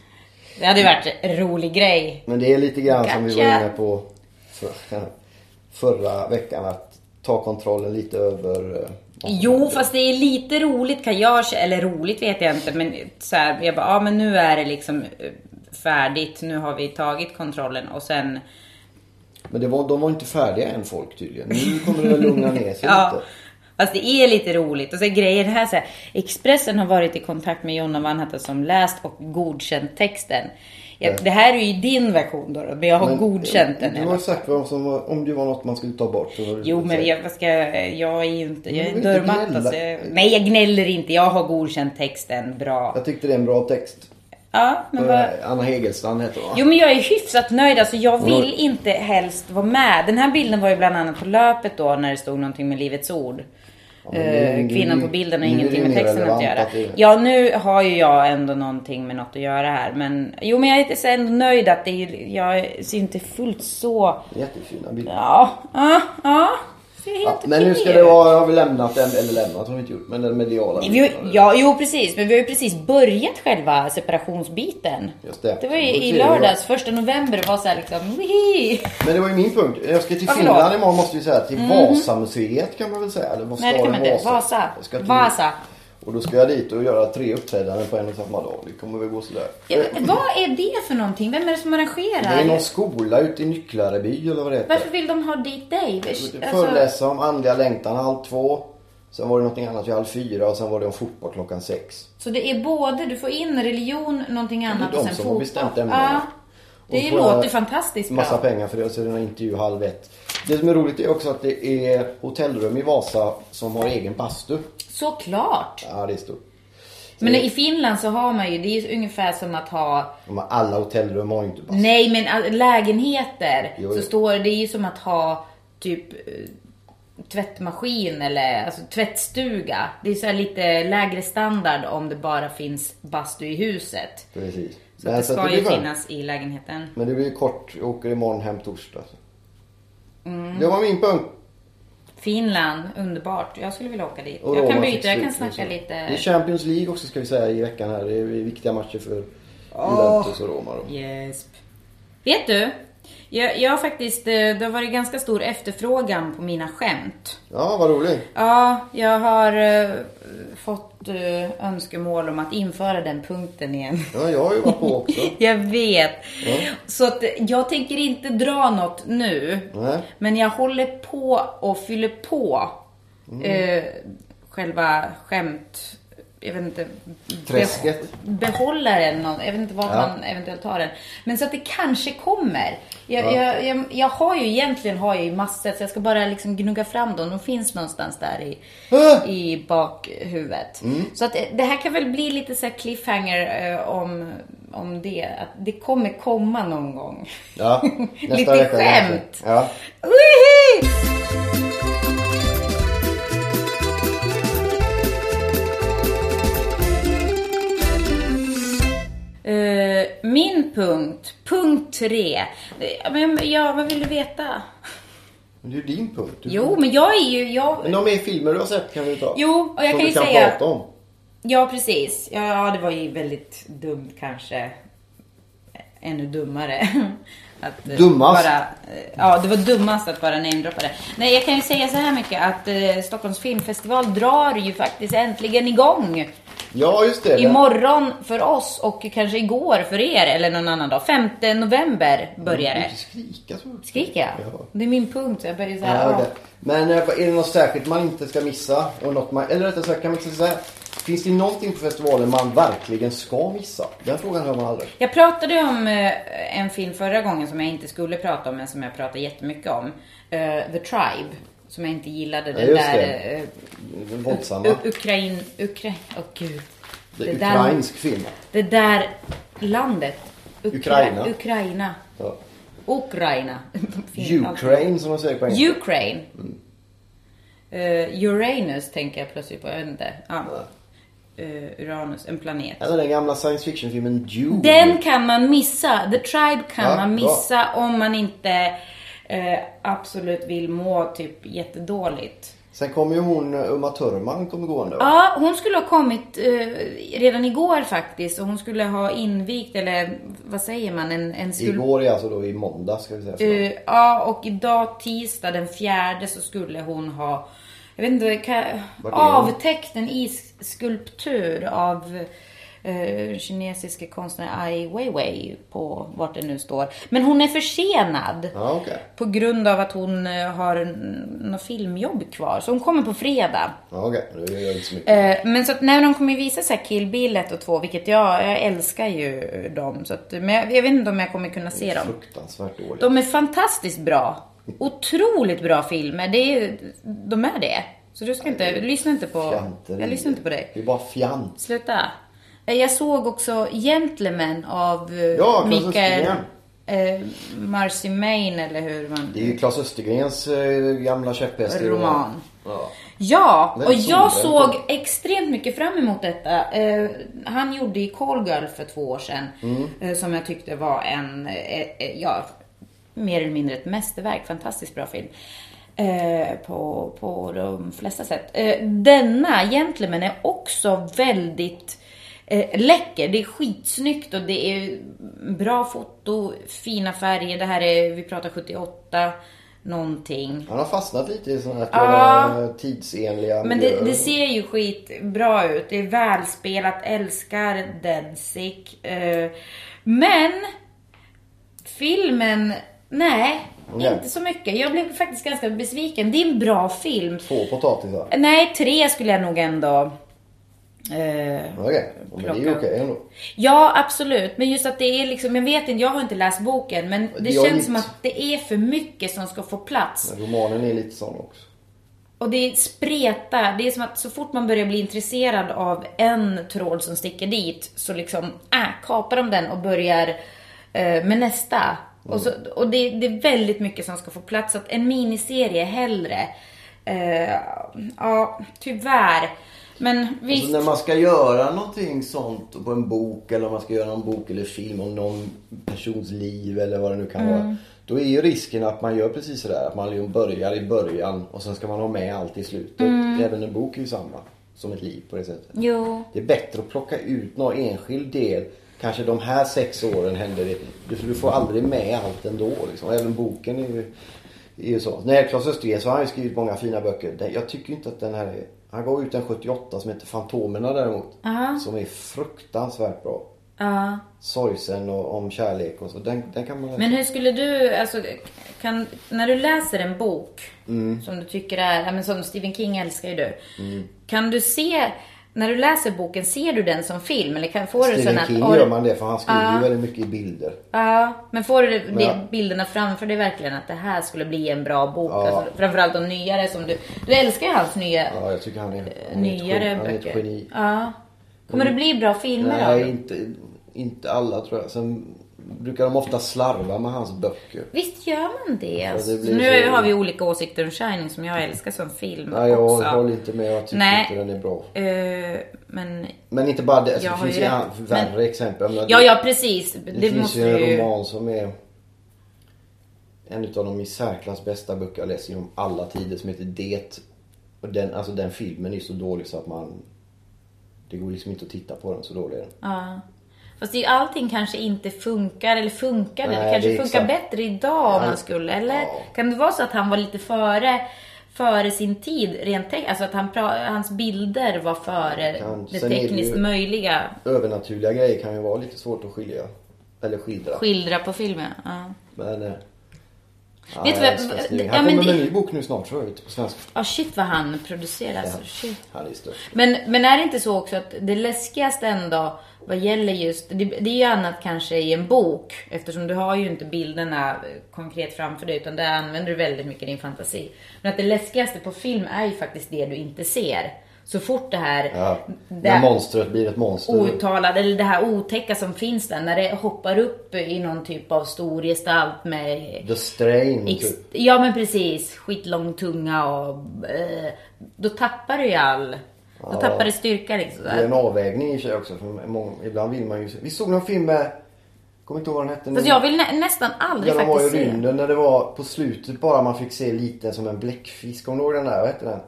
[SPEAKER 1] Det hade ju varit en rolig grej.
[SPEAKER 2] Men det är lite grann som vi var
[SPEAKER 1] Gotcha.
[SPEAKER 2] inne på förra, förra veckan. Att ta kontrollen lite över... eh, vad som
[SPEAKER 1] Jo,
[SPEAKER 2] händer.
[SPEAKER 1] fast det är lite roligt kan jag kä- eller roligt vet jag inte, men så här, jag bara, ja men nu är det liksom eh, färdigt, nu har vi tagit kontrollen och sen,
[SPEAKER 2] Men det var, de var inte färdiga än folk tydligen. Nu kommer det väl lugna ner sig
[SPEAKER 1] ja.
[SPEAKER 2] lite.
[SPEAKER 1] Fast det är lite roligt. Och sen grejen här så här, Expressen har varit i kontakt med Jonna Vanhatta som läst och godkänt texten. Ja, Det här är ju din version då, då, men jag har
[SPEAKER 2] Men,
[SPEAKER 1] godkänt
[SPEAKER 2] eh,
[SPEAKER 1] den. i
[SPEAKER 2] Du
[SPEAKER 1] alla
[SPEAKER 2] har
[SPEAKER 1] fall.
[SPEAKER 2] sagt vad som var, om det var något man skulle ta bort. så var det-
[SPEAKER 1] Jo, men jag, vad ska, jag är ju inte, jag är en
[SPEAKER 2] Men du vill inte
[SPEAKER 1] dörrmatta.
[SPEAKER 2] gnälla.
[SPEAKER 1] så jag- Nej, jag gnäller inte. Jag har godkänt texten bra.
[SPEAKER 2] Jag tyckte det är en bra text.
[SPEAKER 1] Ja, men vad...
[SPEAKER 2] Eh, Anna Hegelstrand heter hon va?
[SPEAKER 1] Jo men jag är hyfsat nöjd, alltså jag
[SPEAKER 2] har-
[SPEAKER 1] vill inte helst vara med. Den här bilden var ju bland annat på löpet då när det stod någonting med Livets Ord.
[SPEAKER 2] men nu-
[SPEAKER 1] Eh,
[SPEAKER 2] nu-
[SPEAKER 1] Kvinnan på bilden har
[SPEAKER 2] nu är
[SPEAKER 1] ingenting
[SPEAKER 2] det
[SPEAKER 1] med
[SPEAKER 2] mer
[SPEAKER 1] texten att
[SPEAKER 2] relevant
[SPEAKER 1] göra.
[SPEAKER 2] att det-
[SPEAKER 1] Ja nu har ju jag ändå någonting med något att göra här men jo men jag är så ändå nöjd att det är ju, jag ser inte fullt så,
[SPEAKER 2] Jättefina bilder.
[SPEAKER 1] ja, ja, ja. Ser helt
[SPEAKER 2] Ja, men nu ska
[SPEAKER 1] okej
[SPEAKER 2] det
[SPEAKER 1] ut.
[SPEAKER 2] vara, har vi lämnat den, eller lämnat har vi inte gjort, men den mediala.
[SPEAKER 1] Vi har, ja, jo precis. Men vi har ju precis börjat själva separationsbiten.
[SPEAKER 2] Just det.
[SPEAKER 1] var ju
[SPEAKER 2] Det
[SPEAKER 1] i
[SPEAKER 2] ser jag.
[SPEAKER 1] lördags, första november, var så här liksom, wihi!
[SPEAKER 2] Men det var ju min punkt. Jag ska till
[SPEAKER 1] Ja, förlåt.
[SPEAKER 2] Finland imorgon måste vi säga. Till Vasamuseet kan man väl säga? Eller vad
[SPEAKER 1] Mhm. Nej, det
[SPEAKER 2] staden
[SPEAKER 1] kan man inte. Vasa.
[SPEAKER 2] Jag ska till-
[SPEAKER 1] Vasa.
[SPEAKER 2] Och då ska jag dit och göra tre uppträdanden på en och samma dag. Det kommer väl gå sådär.
[SPEAKER 1] Ja, men vad är det för någonting? Vem är det som arrangerar?
[SPEAKER 2] Det är någon skola ute i Nycklareby eller vad det heter.
[SPEAKER 1] Varför vill de ha dit dig? Alltså,
[SPEAKER 2] Föreläsa om andliga längtan halv två. Sen var det någonting annat vid halv fyra och sen var det om fotboll klockan sex.
[SPEAKER 1] så det är både, du får in religion, någonting annat
[SPEAKER 2] de
[SPEAKER 1] och sen
[SPEAKER 2] som har
[SPEAKER 1] fotboll.
[SPEAKER 2] bestämt ämnena.
[SPEAKER 1] ja,
[SPEAKER 2] Och
[SPEAKER 1] det
[SPEAKER 2] får
[SPEAKER 1] låter
[SPEAKER 2] jag
[SPEAKER 1] fantastiskt bra.
[SPEAKER 2] Massa pengar för det och så är det någon intervju halv ett. Det som är roligt är också att det är hotellrum i Vasa som har egen bastu.
[SPEAKER 1] Såklart!
[SPEAKER 2] Ja, det är stort.
[SPEAKER 1] Men i Finland så har man ju, det är ju ungefär som att ha
[SPEAKER 2] De har- Alla hotellrum har ju inte bastu.
[SPEAKER 1] Nej, men all- lägenheter
[SPEAKER 2] Alltså. Jo, jo.
[SPEAKER 1] så står det är ju som att ha typ eh, tvättmaskin eller alltså, tvättstuga. Det är så här lite lägre standard om det bara finns bastu i huset.
[SPEAKER 2] Precis.
[SPEAKER 1] Så att
[SPEAKER 2] Men
[SPEAKER 1] det
[SPEAKER 2] så att
[SPEAKER 1] ska
[SPEAKER 2] det
[SPEAKER 1] ju
[SPEAKER 2] blir skönt.
[SPEAKER 1] finnas i lägenheten.
[SPEAKER 2] Men det blir kort. Jag åker imorgon hem torsdag.
[SPEAKER 1] Mm.
[SPEAKER 2] Det var min punkt.
[SPEAKER 1] Finland, underbart. Jag skulle vilja åka dit.
[SPEAKER 2] Och
[SPEAKER 1] jag
[SPEAKER 2] Roma
[SPEAKER 1] kan
[SPEAKER 2] fick
[SPEAKER 1] byta, jag
[SPEAKER 2] stryk
[SPEAKER 1] kan
[SPEAKER 2] och
[SPEAKER 1] snacka
[SPEAKER 2] så.
[SPEAKER 1] lite.
[SPEAKER 2] liksom. Det är Champions League också ska vi säga i veckan här. Det är viktiga matcher för Juventus och Roma. Då.
[SPEAKER 1] Yes. Vet du? Jag, jag har faktiskt, eh, det har varit ganska stor efterfrågan på mina skämt.
[SPEAKER 2] Ja, vad roligt.
[SPEAKER 1] Ja, jag har eh, fått eh, önskemål om att införa den punkten igen.
[SPEAKER 2] Ja, jag har ju varit på också.
[SPEAKER 1] Jag vet.
[SPEAKER 2] Ja.
[SPEAKER 1] Så att eh, jag tänker inte dra något nu.
[SPEAKER 2] Nej.
[SPEAKER 1] Men jag håller på och fyller på
[SPEAKER 2] Mm.
[SPEAKER 1] eh, själva skämt... Jag vet inte.
[SPEAKER 2] Träsket.
[SPEAKER 1] beh- Behållaren. någon- Jag vet inte vart
[SPEAKER 2] Ja.
[SPEAKER 1] man eventuellt tar den. Men så att det kanske kommer. Jag, jag, jag, jag har ju egentligen har jag ju massor. Så jag ska bara liksom gnugga fram dem. De finns någonstans där i,
[SPEAKER 2] Ah!
[SPEAKER 1] i bakhuvudet.
[SPEAKER 2] Mm.
[SPEAKER 1] Så att eh, det här kan väl bli lite så här cliffhanger eh, om, om det. Att det kommer komma någon gång.
[SPEAKER 2] Ja, nästa
[SPEAKER 1] lite
[SPEAKER 2] vecka kanske.
[SPEAKER 1] skämt.
[SPEAKER 2] Ja.
[SPEAKER 1] Wihi! Eh, Min punkt, punkt tre. Eh, Men, ja, vad vill du veta?
[SPEAKER 2] Men det är ju din punkt. Du-
[SPEAKER 1] Jo, men jag är ju... Jag,
[SPEAKER 2] Men de är filmer du har sett kan vi ta.
[SPEAKER 1] Jo, och jag
[SPEAKER 2] Som
[SPEAKER 1] kan ju
[SPEAKER 2] du kan
[SPEAKER 1] säga-
[SPEAKER 2] prata om.
[SPEAKER 1] Ja, precis. Ja, Ja, det var ju väldigt dumt kanske. Ännu dummare. Att eh,
[SPEAKER 2] Dummast?
[SPEAKER 1] Bara, eh, ja, det var dummast att bara namedroppa det. Nej, jag kan ju säga så här mycket att eh, Stockholms filmfestival drar ju faktiskt äntligen igång.
[SPEAKER 2] Ja, just det.
[SPEAKER 1] Imorgon för oss och kanske igår för er eller någon annan dag. 5 november börjar
[SPEAKER 2] Du får
[SPEAKER 1] det.
[SPEAKER 2] inte skrika så mycket.
[SPEAKER 1] Skriker jag?
[SPEAKER 2] Mm. Ja.
[SPEAKER 1] Det är min punkt. Jag börjar så här.
[SPEAKER 2] Ja,
[SPEAKER 1] ja.
[SPEAKER 2] okej. Men eh, är det något särskilt man inte ska missa? Och något man, eller rättare sagt, kan man inte säga Finns det någonting på festivalen man verkligen ska missa? Den frågan hör man aldrig.
[SPEAKER 1] Jag pratade om eh, en film förra gången som jag inte skulle prata om, men som jag pratade jättemycket om. Eh, The Tribe. Som jag inte gillade. Den
[SPEAKER 2] just
[SPEAKER 1] där...
[SPEAKER 2] det.
[SPEAKER 1] eh,
[SPEAKER 2] Den våldsamma.
[SPEAKER 1] U- Ukrain... Ukrain... Åh gud.
[SPEAKER 2] det är
[SPEAKER 1] där-
[SPEAKER 2] ukrainsk film.
[SPEAKER 1] Det där landet. Ukra-
[SPEAKER 2] Ukraina.
[SPEAKER 1] Ukraina.
[SPEAKER 2] Ja.
[SPEAKER 1] Ukraina.
[SPEAKER 2] Ukraine Mm. som de säger på engelska.
[SPEAKER 1] Ukraine. Eh, Uranus tänker jag plötsligt på. Jag vet inte. Ja. Eh, Uranus, en planet.
[SPEAKER 2] Eller den gamla science fiction-filmen Dune.
[SPEAKER 1] Den kan man missa. The Tribe kan
[SPEAKER 2] Ja,
[SPEAKER 1] man
[SPEAKER 2] bra.
[SPEAKER 1] missa om man inte eh, absolut vill må typ jättedåligt.
[SPEAKER 2] Sen kommer ju hon eh, Uma Thurman kommer gående. va?
[SPEAKER 1] Ja, hon skulle ha kommit eh, redan igår faktiskt och hon skulle ha invigt, eller vad säger man, en, en skulptur.
[SPEAKER 2] Igår är alltså då i måndag ska vi säga. Så.
[SPEAKER 1] Eh, ja, och idag tisdag den fjärde så skulle hon ha jag vet inte, kan,
[SPEAKER 2] Vart är hon?
[SPEAKER 1] avtäckt en isskulptur av eh, kinesiska konstnären Ai Weiwei på vart det nu står. Men hon är försenad.
[SPEAKER 2] Ja, okej.
[SPEAKER 1] På grund av att hon eh, har n- något filmjobb kvar. Så hon kommer på fredag.
[SPEAKER 2] Ja, okej. Nu gör jag inte så mycket.
[SPEAKER 1] Eh, Men så att, nej, men de kommer ju visa så här Kill Bill 1 och 2, vilket jag, jag älskar ju dem. Så att, men jag, jag vet inte om jag kommer kunna se dem.
[SPEAKER 2] Fruktansvärt dåligt.
[SPEAKER 1] De är fantastiskt bra. Otroligt bra filmer. Det är, ju- de är det. Så du ska inte, lyssna inte på,
[SPEAKER 2] Fjanteri.
[SPEAKER 1] jag lyssnar inte på dig.
[SPEAKER 2] Det är bara fjant.
[SPEAKER 1] Sluta. Eh, Jag såg också Gentlemen av eh,
[SPEAKER 2] Ja, Claes
[SPEAKER 1] Mikael
[SPEAKER 2] Östergren.
[SPEAKER 1] eh, Marcimain eller hur man...
[SPEAKER 2] Det är ju Claes Östergrens eh, gamla käpphäst. i
[SPEAKER 1] Roman.
[SPEAKER 2] Ja.
[SPEAKER 1] Ja,
[SPEAKER 2] Den
[SPEAKER 1] och
[SPEAKER 2] såg
[SPEAKER 1] jag
[SPEAKER 2] den.
[SPEAKER 1] såg extremt mycket fram emot detta. Eh, han gjorde i Call Girl för två år sedan, eh, som jag tyckte var en, eh, eh, ja, mer eller mindre ett mästerverk. Fantastiskt bra film. Eh, på, på de flesta sätt. Eh, denna Gentlemen är också väldigt eh, läcker. Det är skitsnyggt och det är bra foto, fina färger. Det här är, vi pratar 78. någonting.
[SPEAKER 2] Han har fastnat lite i sådana här
[SPEAKER 1] Ja.
[SPEAKER 2] ja. tidsenliga
[SPEAKER 1] Men det,
[SPEAKER 2] miljöer.
[SPEAKER 1] det ser ju skitbra ut. Det är välspelat, älskar Denzik. Eh, Men filmen, nej,
[SPEAKER 2] Nej.
[SPEAKER 1] inte så mycket. Jag blev faktiskt ganska besviken. Det är en bra film.
[SPEAKER 2] Två potatisar.
[SPEAKER 1] Nej, tre skulle jag nog ändå... eh,
[SPEAKER 2] Okej, men det är ju
[SPEAKER 1] Plocka.
[SPEAKER 2] okej ändå.
[SPEAKER 1] Ja, absolut. Men just att det är liksom, jag vet inte, jag har inte läst boken, men det
[SPEAKER 2] Jag
[SPEAKER 1] känns
[SPEAKER 2] inte.
[SPEAKER 1] som att det är för mycket som ska få plats.
[SPEAKER 2] Men romanen är lite sån också.
[SPEAKER 1] Och det spretar. Det är som att så fort man börjar bli intresserad av en tråd som sticker dit, så liksom, äh, kapar de den och börjar eh, med nästa. Och, så, och det, det är väldigt mycket som ska få plats, så att en miniserie hellre. Eh, ja, tyvärr. Men visst.
[SPEAKER 2] Alltså när man ska göra någonting sånt på en bok eller om man ska göra en bok eller film om någon persons liv eller vad det nu kan vara. Då är ju risken att man gör precis sådär. Att man liksom börjar i början och sen ska man ha med allt i slutet. Även en bok är ju samma. Som ett liv på det sättet.
[SPEAKER 1] Jo.
[SPEAKER 2] Det är bättre att plocka ut någon enskild del. Kanske de här sex åren hände det. Du, för du får aldrig med allt ändå. Liksom. Även boken är ju, är ju så. När Claes Östergren så har han ju skrivit många fina böcker. Den- Jag tycker inte att den här är... Han gav ut en 78 som heter Fantomerna däremot.
[SPEAKER 1] Ja.
[SPEAKER 2] Som är fruktansvärt bra.
[SPEAKER 1] Ja.
[SPEAKER 2] Sorgsen och om kärlek och så. Den, den kan man...
[SPEAKER 1] Men hur skulle du, alltså, kan, när du läser en bok
[SPEAKER 2] Mm.
[SPEAKER 1] som du tycker är, ja, men som Stephen King älskar ju du. Kan du se, när du läser boken, ser du den som film? Eller kan, får du sån
[SPEAKER 2] Stephen
[SPEAKER 1] att,
[SPEAKER 2] King
[SPEAKER 1] oj,
[SPEAKER 2] gör man det för han skriver ju väldigt mycket i bilder.
[SPEAKER 1] Ja, men får du de
[SPEAKER 2] Ja.
[SPEAKER 1] bilderna framför dig verkligen att det här skulle bli en bra bok?
[SPEAKER 2] Ja.
[SPEAKER 1] Alltså, framförallt de nyare som du, du älskar ju hans nya,
[SPEAKER 2] Ja, jag tycker han är, han är, ett,
[SPEAKER 1] nyare
[SPEAKER 2] geni- han är ett
[SPEAKER 1] böcker.
[SPEAKER 2] geni.
[SPEAKER 1] Ja. Kommer det bli bra filmer av
[SPEAKER 2] Nej,
[SPEAKER 1] dem?
[SPEAKER 2] inte, inte alla tror jag. Sen brukar de ofta slarva med hans böcker.
[SPEAKER 1] Visst gör man det?
[SPEAKER 2] det
[SPEAKER 1] Så
[SPEAKER 2] blir
[SPEAKER 1] nu
[SPEAKER 2] så-
[SPEAKER 1] har vi olika åsikter om Shining som jag älskar som film
[SPEAKER 2] Nej, jag
[SPEAKER 1] också.
[SPEAKER 2] håller inte med. Jag tycker
[SPEAKER 1] Nej.
[SPEAKER 2] inte den är bra.
[SPEAKER 1] Eh, men...
[SPEAKER 2] Men inte bara det. Alltså,
[SPEAKER 1] Jag
[SPEAKER 2] det
[SPEAKER 1] har
[SPEAKER 2] finns
[SPEAKER 1] ju
[SPEAKER 2] ju
[SPEAKER 1] rätt,
[SPEAKER 2] an- värre
[SPEAKER 1] men-
[SPEAKER 2] exempel. Men
[SPEAKER 1] Ja, ja precis. Det,
[SPEAKER 2] det finns
[SPEAKER 1] måste
[SPEAKER 2] ju en
[SPEAKER 1] ju...
[SPEAKER 2] roman som är en av de i särklass bästa böcker jag läst genom alla tider som heter Det. Och den, alltså, den filmen är så dålig så att man... Det går liksom inte att titta på den, så dålig är den.
[SPEAKER 1] Ja. Fast det är ju, allting kanske inte funkar, eller funkar det?
[SPEAKER 2] Nej,
[SPEAKER 1] Det kanske
[SPEAKER 2] det är
[SPEAKER 1] funkar
[SPEAKER 2] exakt.
[SPEAKER 1] bättre idag om
[SPEAKER 2] Ja.
[SPEAKER 1] man skulle, eller?
[SPEAKER 2] Ja.
[SPEAKER 1] Kan det vara så att han var lite före, före sin tid rent tekniskt? Alltså att han pra- hans bilder var före
[SPEAKER 2] Kan-
[SPEAKER 1] det
[SPEAKER 2] sen är det
[SPEAKER 1] tekniskt
[SPEAKER 2] ju-
[SPEAKER 1] möjliga?
[SPEAKER 2] Övernaturliga grejer kan ju vara lite svårt att skilja. Eller skildra.
[SPEAKER 1] Skildra på filmen? Ja.
[SPEAKER 2] Men... eh, Ja,
[SPEAKER 1] Vet du
[SPEAKER 2] jag
[SPEAKER 1] vad-
[SPEAKER 2] älskar
[SPEAKER 1] vad-
[SPEAKER 2] Stephen.
[SPEAKER 1] ja,
[SPEAKER 2] Han
[SPEAKER 1] men
[SPEAKER 2] kommer med en
[SPEAKER 1] det-
[SPEAKER 2] ny bok nu snart tror jag, ute på svenska.
[SPEAKER 1] Ja, shit vad han producerar. Alltså, shit.
[SPEAKER 2] Han är störst.
[SPEAKER 1] Men, men är det inte så också att det läskigaste ändå vad gäller just, det, det är ju annat kanske i en bok eftersom du har ju inte bilderna konkret framför dig utan där använder du väldigt mycket din fantasi. Men att det läskigaste på film är ju faktiskt det du inte ser. Så fort det här,
[SPEAKER 2] Ja.
[SPEAKER 1] det
[SPEAKER 2] När
[SPEAKER 1] här
[SPEAKER 2] monstret blir ett monster.
[SPEAKER 1] outtalade, eller det här otäcka som finns där, när det hoppar upp i någon typ av stor gestalt med
[SPEAKER 2] The Strain.
[SPEAKER 1] Ex-
[SPEAKER 2] Typ.
[SPEAKER 1] Ja men precis, skitlång tunga och eh, då tappar du ju all, då
[SPEAKER 2] Ja.
[SPEAKER 1] tappar du styrka liksom.
[SPEAKER 2] Det är en avvägning i och för sig också. För många, ibland vill man ju se. Vi såg någon film med... Kommer inte ihåg vad den hette nu.
[SPEAKER 1] Fast jag vill nä- nästan aldrig
[SPEAKER 2] Ja, de var i
[SPEAKER 1] faktiskt se.
[SPEAKER 2] rymden när det var på slutet bara man fick se lite som en bläckfisk. Kommer du ihåg den där? Vad hette den?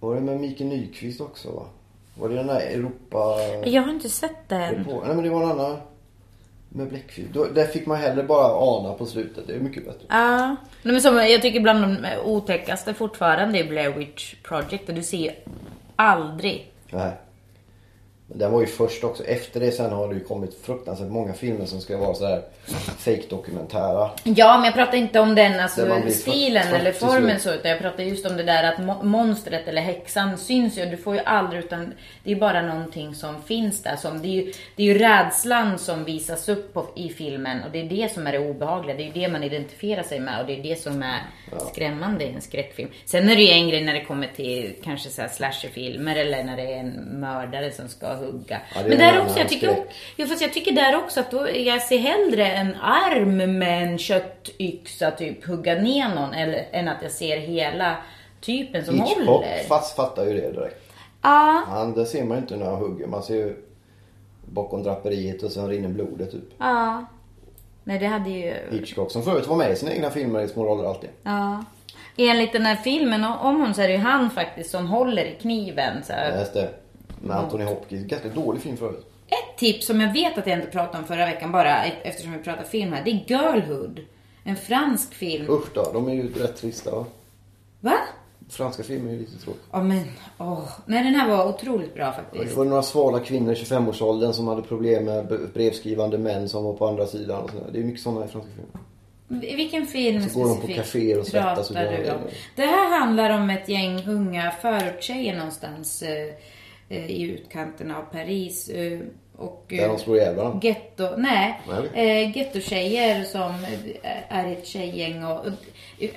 [SPEAKER 2] Var det med Mikael Nyqvist också va? Var det den där Europa...
[SPEAKER 1] Jag har inte sett den.
[SPEAKER 2] På? Nej men det var en annan. Med bläckfisk. Då, där fick man heller bara ana på slutet. Det är mycket bättre.
[SPEAKER 1] Ja. Nej, men som, jag tycker bland de otäckaste fortfarande är Blair Witch Project och du ser ju aldrig.
[SPEAKER 2] Nej. Men den var ju först också. Efter det sen har det ju kommit fruktansvärt många filmer som ska vara så här fake-dokumentära.
[SPEAKER 1] Ja men jag pratar inte om den alltså,
[SPEAKER 2] Där man blir
[SPEAKER 1] stilen
[SPEAKER 2] trött-
[SPEAKER 1] eller
[SPEAKER 2] trött till
[SPEAKER 1] formen
[SPEAKER 2] slut.
[SPEAKER 1] så utan jag pratar just om det där att mo- monstret eller häxan syns ju. Du får ju aldrig utan det är bara någonting som finns där. Som, det, är ju, det är ju rädslan som visas upp på, i filmen och det är det som är det obehagliga. Det är ju det man identifierar sig med och det är det som är skrämmande i en skräckfilm. Sen är det ju en grej när det kommer till kanske så här slasherfilmer eller när det är en mördare som ska hugga.
[SPEAKER 2] Ja, det är
[SPEAKER 1] Men
[SPEAKER 2] en
[SPEAKER 1] där
[SPEAKER 2] annan
[SPEAKER 1] också, jag tycker,
[SPEAKER 2] skräck.
[SPEAKER 1] Jo, fast jag tycker där också att då, jag ser hellre en arm med en köttyxa typ hugga ner någon eller, än att jag ser hela typen som
[SPEAKER 2] Hitchcock
[SPEAKER 1] håller.
[SPEAKER 2] fast fattar ju det direkt.
[SPEAKER 1] Ja,
[SPEAKER 2] Han, där ser man ju inte när han hugger. Man ser ju bakom draperiet och sen rinner blodet typ.
[SPEAKER 1] ja. Nej, det hade ju...
[SPEAKER 2] Hitchcock som förut var med i sina egna filmer i små roller alltid.
[SPEAKER 1] Ja. Enligt den här filmen o- om hon så är det ju han faktisst som håller i kniven. Så. här.
[SPEAKER 2] Jag läste med Anthony Hopkins. Ganska dålig film förut.
[SPEAKER 1] Ett tips som jag vet att jag inte pratade om förra veckan bara e- eftersom vi pratade film här, det är Girlhood. En fransk film.
[SPEAKER 2] Usch då, de är ju rätt trista va?
[SPEAKER 1] Va?
[SPEAKER 2] Franska filmer är ju lite tråkiga.
[SPEAKER 1] Ja men, åh. Nej den här var otroligt bra
[SPEAKER 2] Det
[SPEAKER 1] faktiskt.
[SPEAKER 2] var några svala kvinnor i 25-årsåldern som hade problem med b- brevskrivande män som var på andra sidan och sådär. Det är mycket sådana i franska filmer.
[SPEAKER 1] I Vilken film
[SPEAKER 2] Så går de på kaféer och svettas och
[SPEAKER 1] pratar
[SPEAKER 2] gör
[SPEAKER 1] du om?
[SPEAKER 2] grejer.
[SPEAKER 1] Det här handlar om ett gäng unga förortstjejer någonstans eh, eh, i utkanten av Paris. eh, Och,
[SPEAKER 2] Där de slår ihjäl varandra.
[SPEAKER 1] Getto, nej.
[SPEAKER 2] Nej.
[SPEAKER 1] Eh, Gettotjejer som eh, är ett tjejgäng och, och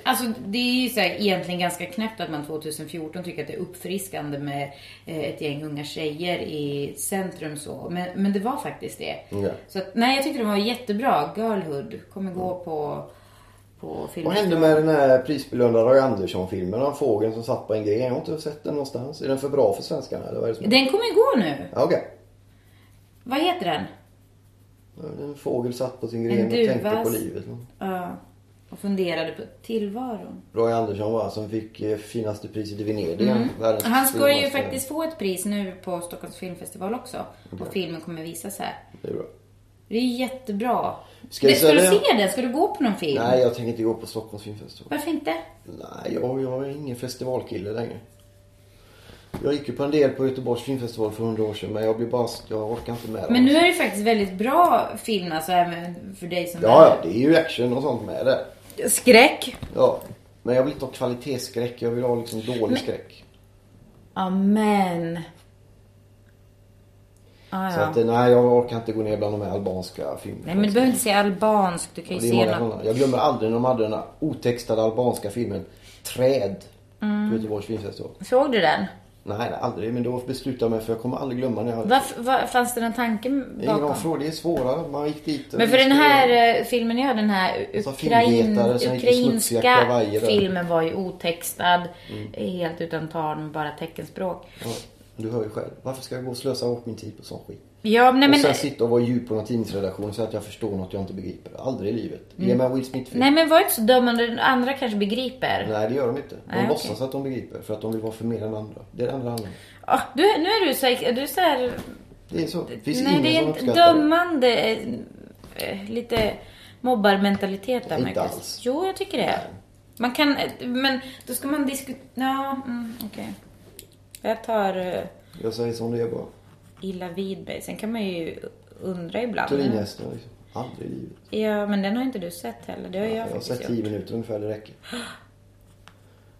[SPEAKER 1] Alltså det är ju så här, egentligen ganska knäppt att man 2014 tycker att det är uppfriskande med eh, ett gäng unga tjejer i centrum så. Men, men det var faktiskt det.
[SPEAKER 2] Ja.
[SPEAKER 1] Så att, nej jag tyckte den var jättebra. Girlhood. Kommer gå på, på
[SPEAKER 2] Mm. Vad
[SPEAKER 1] filmen.
[SPEAKER 2] hände med den här prisbelönade Roy Andersson-filmen? Han fågeln som satt på en gren. Jag har inte sett den någonstans. Är den för bra för svenskarna eller vad är det som...
[SPEAKER 1] Den kommer gå nu.
[SPEAKER 2] Ja, Okej.
[SPEAKER 1] Vad heter den?
[SPEAKER 2] En fågel satt på sin
[SPEAKER 1] En
[SPEAKER 2] gren och
[SPEAKER 1] duva.
[SPEAKER 2] tänkte på livet.
[SPEAKER 1] Ja. och funderade på tillvaron.
[SPEAKER 2] Roy Andersson var som fick eh, finaste priset i Venedig. Världens
[SPEAKER 1] Mm. Han ska ju
[SPEAKER 2] finaste-
[SPEAKER 1] faktiskt få ett pris nu på Stockholms filmfestival också. Och filmen kommer visas här.
[SPEAKER 2] Det är bra.
[SPEAKER 1] Det är jättebra.
[SPEAKER 2] Ska
[SPEAKER 1] Ska,
[SPEAKER 2] vi
[SPEAKER 1] ska
[SPEAKER 2] säga
[SPEAKER 1] du
[SPEAKER 2] det?
[SPEAKER 1] se den? Ska du gå på någon film?
[SPEAKER 2] Nej, jag tänker inte gå på Stockholms filmfestival.
[SPEAKER 1] Varför inte?
[SPEAKER 2] Nej, jag, jag är ingen festivalkille längre. Jag gick ju på en del på Göteborgs filmfestival för hundra år sedan men jag blir bara... Jag orkar inte med
[SPEAKER 1] Men nu är det faktiskt väldigt bra film alltså även för dig som
[SPEAKER 2] Ja, ja, det är ju action och sånt med det.
[SPEAKER 1] är... Skräck.
[SPEAKER 2] Ja. Men jag vill inte ha kvalitetsskräck. Jag vill ha liksom dålig skräck.
[SPEAKER 1] Amen. Ah,
[SPEAKER 2] Så
[SPEAKER 1] ja.
[SPEAKER 2] att, eh, nej, jag orkar inte gå ner bland de här albanska filmerna.
[SPEAKER 1] Nej men du behöver inte se albansk. Du kan
[SPEAKER 2] Och
[SPEAKER 1] ju
[SPEAKER 2] det är
[SPEAKER 1] se
[SPEAKER 2] många
[SPEAKER 1] något.
[SPEAKER 2] sådana. Jag glömmer aldrig när de hade den här otextade albanska filmen Träd
[SPEAKER 1] Mm.
[SPEAKER 2] på Göteborgs filmfestival.
[SPEAKER 1] Såg du den?
[SPEAKER 2] Nej, nej, aldrig. Men då beslutade jag mig för jag kommer aldrig glömma när jag...
[SPEAKER 1] Varför, var, fanns det någon tanke
[SPEAKER 2] Ingen
[SPEAKER 1] bakom?
[SPEAKER 2] avfråga, det är svårare. Man gick dit... och
[SPEAKER 1] Men för den
[SPEAKER 2] skulle-
[SPEAKER 1] här eh, filmen jag den här u-
[SPEAKER 2] Som
[SPEAKER 1] Ukrain,
[SPEAKER 2] Alltså, filmvetare som gick i smutsiga
[SPEAKER 1] ukrainska
[SPEAKER 2] kavajer där. Mm.
[SPEAKER 1] filmen var ju otextad. Helt utan tal med bara teckenspråk.
[SPEAKER 2] Ja, du hör ju själv. Varför ska jag gå och slösa bort min tid på sån skit?
[SPEAKER 1] Ja, nej,
[SPEAKER 2] och
[SPEAKER 1] men,
[SPEAKER 2] sen sitta och vara djup på någon tidningsredaktion och säga att jag förstår något jag inte begriper. Aldrig i livet. Ge mig en Will Smith-film.
[SPEAKER 1] Mm. nej men var inte så dömande. Andra kanske begriper.
[SPEAKER 2] Nej, det gör de inte. De
[SPEAKER 1] Nej, okej.
[SPEAKER 2] låtsas att de begriper för att de vill vara för mer än andra. Det är det enda det handlar om.
[SPEAKER 1] Ah, du, nu är du så här, du är så här
[SPEAKER 2] Det är så. Det finns
[SPEAKER 1] Nej,
[SPEAKER 2] ingen
[SPEAKER 1] det är
[SPEAKER 2] som
[SPEAKER 1] inte
[SPEAKER 2] uppskattar det.
[SPEAKER 1] dömande. eh, eh, Lite mobbarmentalitet där
[SPEAKER 2] Inte
[SPEAKER 1] Marcus.
[SPEAKER 2] alls.
[SPEAKER 1] Jo, jag tycker det. Man kan, eh, men då ska man diskutera. Ja, mm, okej. Jag tar eh,
[SPEAKER 2] Jag säger som det är bara.
[SPEAKER 1] illa vid mig. Sen kan man ju undra ibland.
[SPEAKER 2] Turinhästen, liksom. Aldrig i livet.
[SPEAKER 1] Ja, men den har inte du sett heller. Det har jag,
[SPEAKER 2] Jag har
[SPEAKER 1] faktiskt
[SPEAKER 2] sett
[SPEAKER 1] gjort.
[SPEAKER 2] 10 minuter ungefär, det räcker.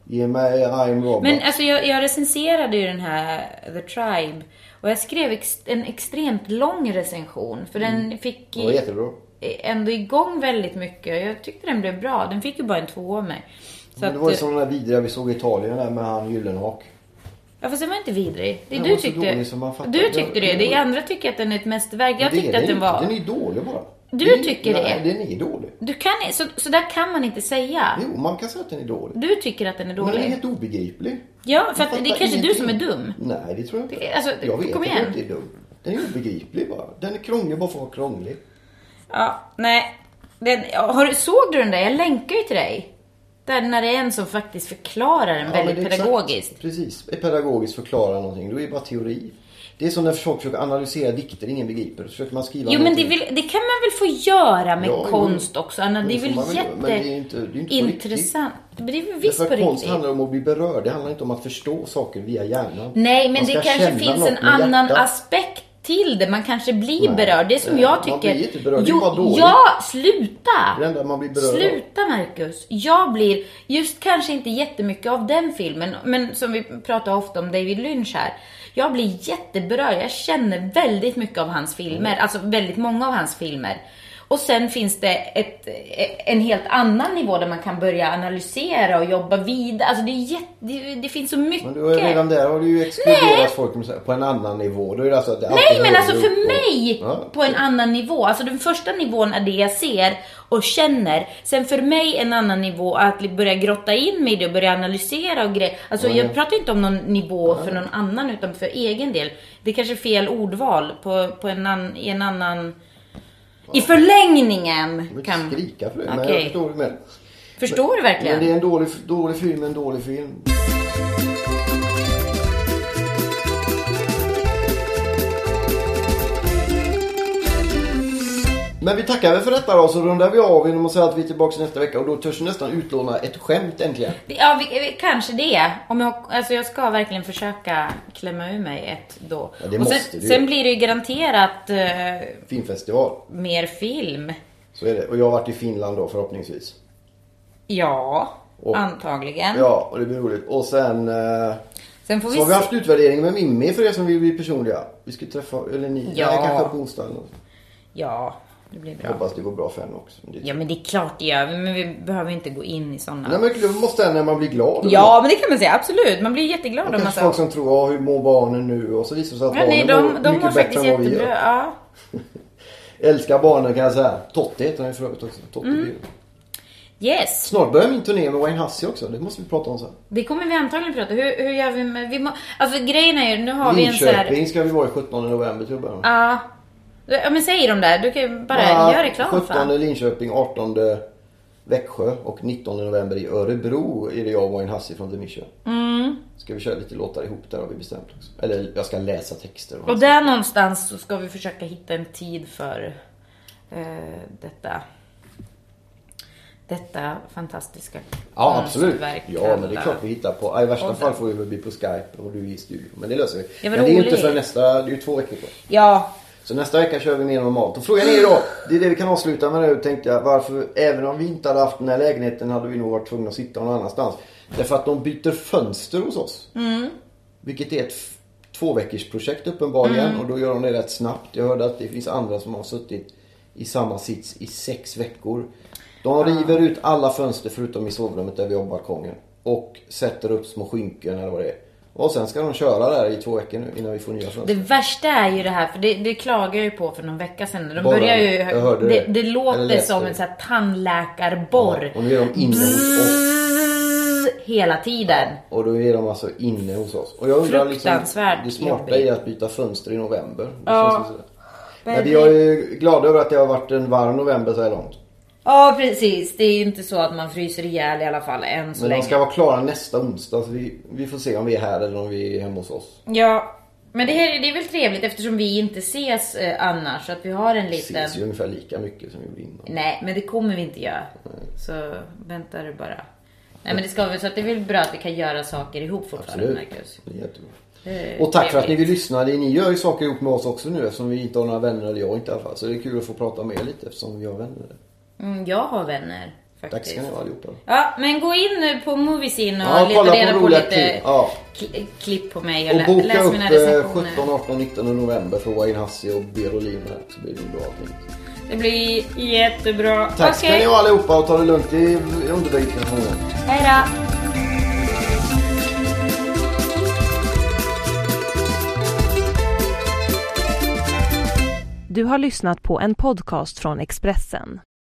[SPEAKER 2] Ge mig I'm Robot.
[SPEAKER 1] Men alltså jag, jag recenserade ju den här The Tribe. Och jag skrev ex, en extremt lång recension. För den fick
[SPEAKER 2] Mm. Det var jättebra.
[SPEAKER 1] ändå igång väldigt mycket. Jag tyckte den blev bra. Den fick ju bara en tvåa av mig. Så
[SPEAKER 2] Men det
[SPEAKER 1] att, eh,
[SPEAKER 2] var ju som den där vidriga vi såg i Italien där med han Gyllenhak.
[SPEAKER 1] ja, fast den var inte vidrig. Det
[SPEAKER 2] Den
[SPEAKER 1] du
[SPEAKER 2] var så
[SPEAKER 1] tyckte.
[SPEAKER 2] dålig som man fattar.
[SPEAKER 1] du tyckte det.
[SPEAKER 2] Den-
[SPEAKER 1] Det andra tycker att den är ett mästerverk. Jag
[SPEAKER 2] Men det
[SPEAKER 1] tyckte
[SPEAKER 2] är
[SPEAKER 1] att den
[SPEAKER 2] inte.
[SPEAKER 1] var...
[SPEAKER 2] Den är dålig bara.
[SPEAKER 1] Du
[SPEAKER 2] Det är-
[SPEAKER 1] tycker
[SPEAKER 2] nej,
[SPEAKER 1] det.
[SPEAKER 2] den är dålig.
[SPEAKER 1] Du kan i- så, så där kan man inte säga.
[SPEAKER 2] Jo, man kan säga att den är dålig.
[SPEAKER 1] Du tycker att den är
[SPEAKER 2] Mm. Men den är
[SPEAKER 1] dålig.
[SPEAKER 2] helt obegriplig.
[SPEAKER 1] Ja, för
[SPEAKER 2] Jag
[SPEAKER 1] att det
[SPEAKER 2] fattar
[SPEAKER 1] är kanske du som är
[SPEAKER 2] ingenting.
[SPEAKER 1] dum.
[SPEAKER 2] Nej, det tror jag
[SPEAKER 1] Det
[SPEAKER 2] inte.
[SPEAKER 1] är- alltså,
[SPEAKER 2] jag vet
[SPEAKER 1] kom
[SPEAKER 2] att
[SPEAKER 1] igen.
[SPEAKER 2] jag inte är dum. Den är obegriplig bara. Den är krånglig bara för att vara krånglig.
[SPEAKER 1] Ja, nej. Den, ja, har, du- såg du den där? Jag länkar ju till dig. Där när det är en som faktiskt förklarar den
[SPEAKER 2] Ja, men det är
[SPEAKER 1] väldigt
[SPEAKER 2] exakt-
[SPEAKER 1] pedagogiskt.
[SPEAKER 2] Precis. Är pedagogiskt förklara någonting. Då är det bara teori. Det är som när folk försöker analysera dikter ingen begriper. Så försöker man skriva
[SPEAKER 1] Jo men det,
[SPEAKER 2] någonting.
[SPEAKER 1] vill, det kan man väl få göra med
[SPEAKER 2] Ja, jo.
[SPEAKER 1] konst också? Anna,
[SPEAKER 2] Men
[SPEAKER 1] det är
[SPEAKER 2] det
[SPEAKER 1] väl
[SPEAKER 2] får man väl göra, men det är ju inte- det är ju inte på riktigt.
[SPEAKER 1] jätteintressant. Men det är väl
[SPEAKER 2] Därför
[SPEAKER 1] visst på
[SPEAKER 2] att konst
[SPEAKER 1] riktigt?
[SPEAKER 2] handlar om att bli berörd. Det handlar inte om att förstå saker via hjärnan.
[SPEAKER 1] Nej
[SPEAKER 2] Man
[SPEAKER 1] men det
[SPEAKER 2] ska
[SPEAKER 1] kanske
[SPEAKER 2] känna
[SPEAKER 1] finns
[SPEAKER 2] något
[SPEAKER 1] en
[SPEAKER 2] med
[SPEAKER 1] annan
[SPEAKER 2] hjärtat.
[SPEAKER 1] aspekt till det. Man kanske blir
[SPEAKER 2] Nej,
[SPEAKER 1] berörd. Det är som
[SPEAKER 2] nej,
[SPEAKER 1] jag
[SPEAKER 2] man
[SPEAKER 1] tycker.
[SPEAKER 2] blir inte berörd. Det är bara dåligt.
[SPEAKER 1] ja, sluta!
[SPEAKER 2] Det enda man blir berörd av.
[SPEAKER 1] Sluta Marcus. Jag blir, just kanske inte jättemycket av den filmen, men som vi pratar ofta om David Lynch här. Jag blir jätteberörd. Jag känner väldigt mycket av hans filmer.
[SPEAKER 2] Mm.
[SPEAKER 1] Alltså väldigt många av hans filmer. Och sen finns det ett, en helt annan nivå där man kan börja analysera och jobba vidare. Alltså det, är jätte, det, det finns så mycket.
[SPEAKER 2] Men du har ju redan där har du ju
[SPEAKER 1] Nej.
[SPEAKER 2] exkluderat folk med så här- på en annan nivå. Då är det alltså att det
[SPEAKER 1] Nej
[SPEAKER 2] alltid
[SPEAKER 1] men
[SPEAKER 2] höjer
[SPEAKER 1] alltså
[SPEAKER 2] upp
[SPEAKER 1] för
[SPEAKER 2] och-
[SPEAKER 1] mig
[SPEAKER 2] Ja.
[SPEAKER 1] på en annan nivå. Alltså den första nivån är det jag ser och känner. Sen för mig en annan nivå är att börja grotta in mig i det och börja analysera och grejer. Alltså
[SPEAKER 2] Ja, ja.
[SPEAKER 1] jag pratar inte om någon nivå för någon annan utan för egen del. Det är kanske är fel ordval på, på en annan, i en annan... I
[SPEAKER 2] Jag
[SPEAKER 1] förlängningen
[SPEAKER 2] vill inte
[SPEAKER 1] kan...
[SPEAKER 2] skrika för det. Men jag
[SPEAKER 1] Okej.
[SPEAKER 2] förstår vad du menar.
[SPEAKER 1] Förstår du verkligen?
[SPEAKER 2] Men det är en dålig, dålig film, en dålig film. Men vi tackar väl för detta då så rundar vi av genom att säga att vi är tillbaka nästa vecka och då törs jag nästan utlåna ett skämt äntligen.
[SPEAKER 1] Det- Ja, vi, vi, kanske det. Om jag, alltså jag ska verkligen försöka klämma ur mig ett då.
[SPEAKER 2] Ja, det
[SPEAKER 1] och sen,
[SPEAKER 2] måste du ju.
[SPEAKER 1] sen blir det ju garanterat eh,
[SPEAKER 2] Filmfestival.
[SPEAKER 1] mer film.
[SPEAKER 2] Så är det. Och jag har varit i Finland då förhoppningsvis.
[SPEAKER 1] Ja,
[SPEAKER 2] Och-
[SPEAKER 1] antagligen.
[SPEAKER 2] Ja, och det blir roligt. Och sen eh,
[SPEAKER 1] Sen får
[SPEAKER 2] så har
[SPEAKER 1] vi,
[SPEAKER 2] vi
[SPEAKER 1] se.
[SPEAKER 2] haft utvärdering med Mimmi för er som vill bli personliga. Vi ska träffa, eller ni,
[SPEAKER 1] Ja.
[SPEAKER 2] nej, kanske på onsdag eller något.
[SPEAKER 1] Ja, det blir bra.
[SPEAKER 2] Hoppas det går bra för henne också. Men det...
[SPEAKER 1] Ja, men det är klart det gör vi, men vi behöver inte gå in i
[SPEAKER 2] Nej
[SPEAKER 1] sådana.
[SPEAKER 2] men det måste hända när man blir glad.
[SPEAKER 1] Ja, men det kan man säga, absolut. Man blir jätteglad
[SPEAKER 2] Det
[SPEAKER 1] om man
[SPEAKER 2] kanske folk
[SPEAKER 1] säger...
[SPEAKER 2] som tror, ja hur mår barnen nu? Och så visar det sig att
[SPEAKER 1] Ja,
[SPEAKER 2] barnen
[SPEAKER 1] nej, de, de
[SPEAKER 2] mår
[SPEAKER 1] mår
[SPEAKER 2] mycket bättre
[SPEAKER 1] faktiskt
[SPEAKER 2] än vad vi
[SPEAKER 1] jättebra.
[SPEAKER 2] gör.
[SPEAKER 1] Ja.
[SPEAKER 2] Älskar barnen kan jag säga. Totte heter han ju för övrigt också. Totte
[SPEAKER 1] Mm.
[SPEAKER 2] Bjur.
[SPEAKER 1] Yes,
[SPEAKER 2] Snart börjar min turné med Wayne Hussey också. Det måste vi prata om sen.
[SPEAKER 1] det kommer vi antagligen prata Hur, hur gör vi med... Vi må, alltså grejen är ju, nu har vi en så här...
[SPEAKER 2] Linköping ska vi vara i 17 november till att börja med.
[SPEAKER 1] Ja. Ja men säg dem där, du kan ju bara
[SPEAKER 2] Ja,
[SPEAKER 1] göra reklam
[SPEAKER 2] 17
[SPEAKER 1] för
[SPEAKER 2] Linköping, 18 Växjö och 19 november i Örebro är det jag och Wayne Hussey från The Mission.
[SPEAKER 1] Mm.
[SPEAKER 2] Ska vi köra lite låtar ihop där har vi bestämt också. Eller jag ska läsa texter.
[SPEAKER 1] Och där någonstans så ska vi försöka hitta en tid för eh, detta. Detta fantastiska
[SPEAKER 2] Ja absolut.
[SPEAKER 1] konstverk.
[SPEAKER 2] Ja men det är klart vi hittar på. Ja, I värsta
[SPEAKER 1] Och
[SPEAKER 2] fall
[SPEAKER 1] där.
[SPEAKER 2] får vi väl bli på Skype och du i studion. Men det löser vi.
[SPEAKER 1] Ja, vad
[SPEAKER 2] men det är ju inte
[SPEAKER 1] roligt.
[SPEAKER 2] för nästa, det är ju två veckor kvar.
[SPEAKER 1] Ja,
[SPEAKER 2] Så nästa vecka kör vi mer normalt. Och frågan är då, det är det vi kan avsluta med nu tänkte jag. Varför, även om vi inte hade haft den här lägenheten hade vi nog varit tvungna att sitta någon annanstans. Därför att de byter fönster hos oss. Vilket är ett f- tvåveckorsprojekt uppenbarligen. Och då gör de det rätt snabbt. Jag hörde att det finns andra som har suttit i samma sits i sex veckor. De river ut alla fönster förutom i sovrummet där vi har balkongen. Och sätter upp små skynken eller vad det är. Och sen ska de köra där i två veckor nu innan vi får nya fönster.
[SPEAKER 1] det värsta är ju det här, för det, det klagade jag ju på för någon vecka sedan. De
[SPEAKER 2] Borren.
[SPEAKER 1] börjar ju,
[SPEAKER 2] Jag hörde
[SPEAKER 1] det,
[SPEAKER 2] det.
[SPEAKER 1] det
[SPEAKER 2] Eller
[SPEAKER 1] låter
[SPEAKER 2] läste
[SPEAKER 1] som
[SPEAKER 2] det.
[SPEAKER 1] en sån här tandläkarborr.
[SPEAKER 2] Och nu är de inne hos oss.
[SPEAKER 1] Bzzz, Hela tiden.
[SPEAKER 2] Och då är de alltså inne hos oss. Och jag undrar liksom,
[SPEAKER 1] Fruktansvärt
[SPEAKER 2] det smarta
[SPEAKER 1] jobbigt.
[SPEAKER 2] är att byta fönster i november. Det
[SPEAKER 1] Ja.
[SPEAKER 2] känns ju sådär. Men jag är glad över att det har varit en varm november så här långt.
[SPEAKER 1] Ja precis, det är ju inte så att man fryser ihjäl i alla fall än så
[SPEAKER 2] Men de
[SPEAKER 1] länge.
[SPEAKER 2] ska vara klara nästa onsdag så vi, vi får se om vi är här eller om vi är hemma hos oss.
[SPEAKER 1] Ja, men det, här, det är väl trevligt eftersom vi inte ses eh, annars. Så att vi har en
[SPEAKER 2] Vi
[SPEAKER 1] liten...
[SPEAKER 2] ses ju ungefär lika mycket som vi gjorde innan.
[SPEAKER 1] Nej, men det kommer vi inte göra. Så vänta du bara. Nej men det ska vi, så att det är väl bra att vi kan göra saker ihop fortfarande
[SPEAKER 2] Absolut.
[SPEAKER 1] Marcus.
[SPEAKER 2] Det är jättebra.
[SPEAKER 1] Det är
[SPEAKER 2] Och tack för att ni
[SPEAKER 1] trevligt.
[SPEAKER 2] vill lyssna. Ni gör ju saker ihop med oss också nu eftersom vi inte har några vänner, eller jag inte i alla fall. Så det är kul att få prata med er lite eftersom vi har vänner.
[SPEAKER 1] Mm, jag har vänner
[SPEAKER 2] Tack
[SPEAKER 1] faktiskt.
[SPEAKER 2] ska ni ha allihopa.
[SPEAKER 1] Ja, men gå in nu på Moviesin och
[SPEAKER 2] Ja,
[SPEAKER 1] leta
[SPEAKER 2] kolla på
[SPEAKER 1] reda på,
[SPEAKER 2] roliga
[SPEAKER 1] lite
[SPEAKER 2] klipp. Ja.
[SPEAKER 1] kli- klipp på mig och,
[SPEAKER 2] Och
[SPEAKER 1] lä-
[SPEAKER 2] boka
[SPEAKER 1] läs
[SPEAKER 2] upp
[SPEAKER 1] mina
[SPEAKER 2] eh,
[SPEAKER 1] recensioner.
[SPEAKER 2] 17, 18, 19 november för Wayne Hussey och Berolin här så blir det nog bra allting.
[SPEAKER 1] Det blir jättebra.
[SPEAKER 2] Tack ska
[SPEAKER 1] Okej,
[SPEAKER 2] ni ha allihopa och ta det lugnt. Det är underbyggt den här
[SPEAKER 1] hejdå!
[SPEAKER 3] Du har lyssnat på en podcast från Expressen.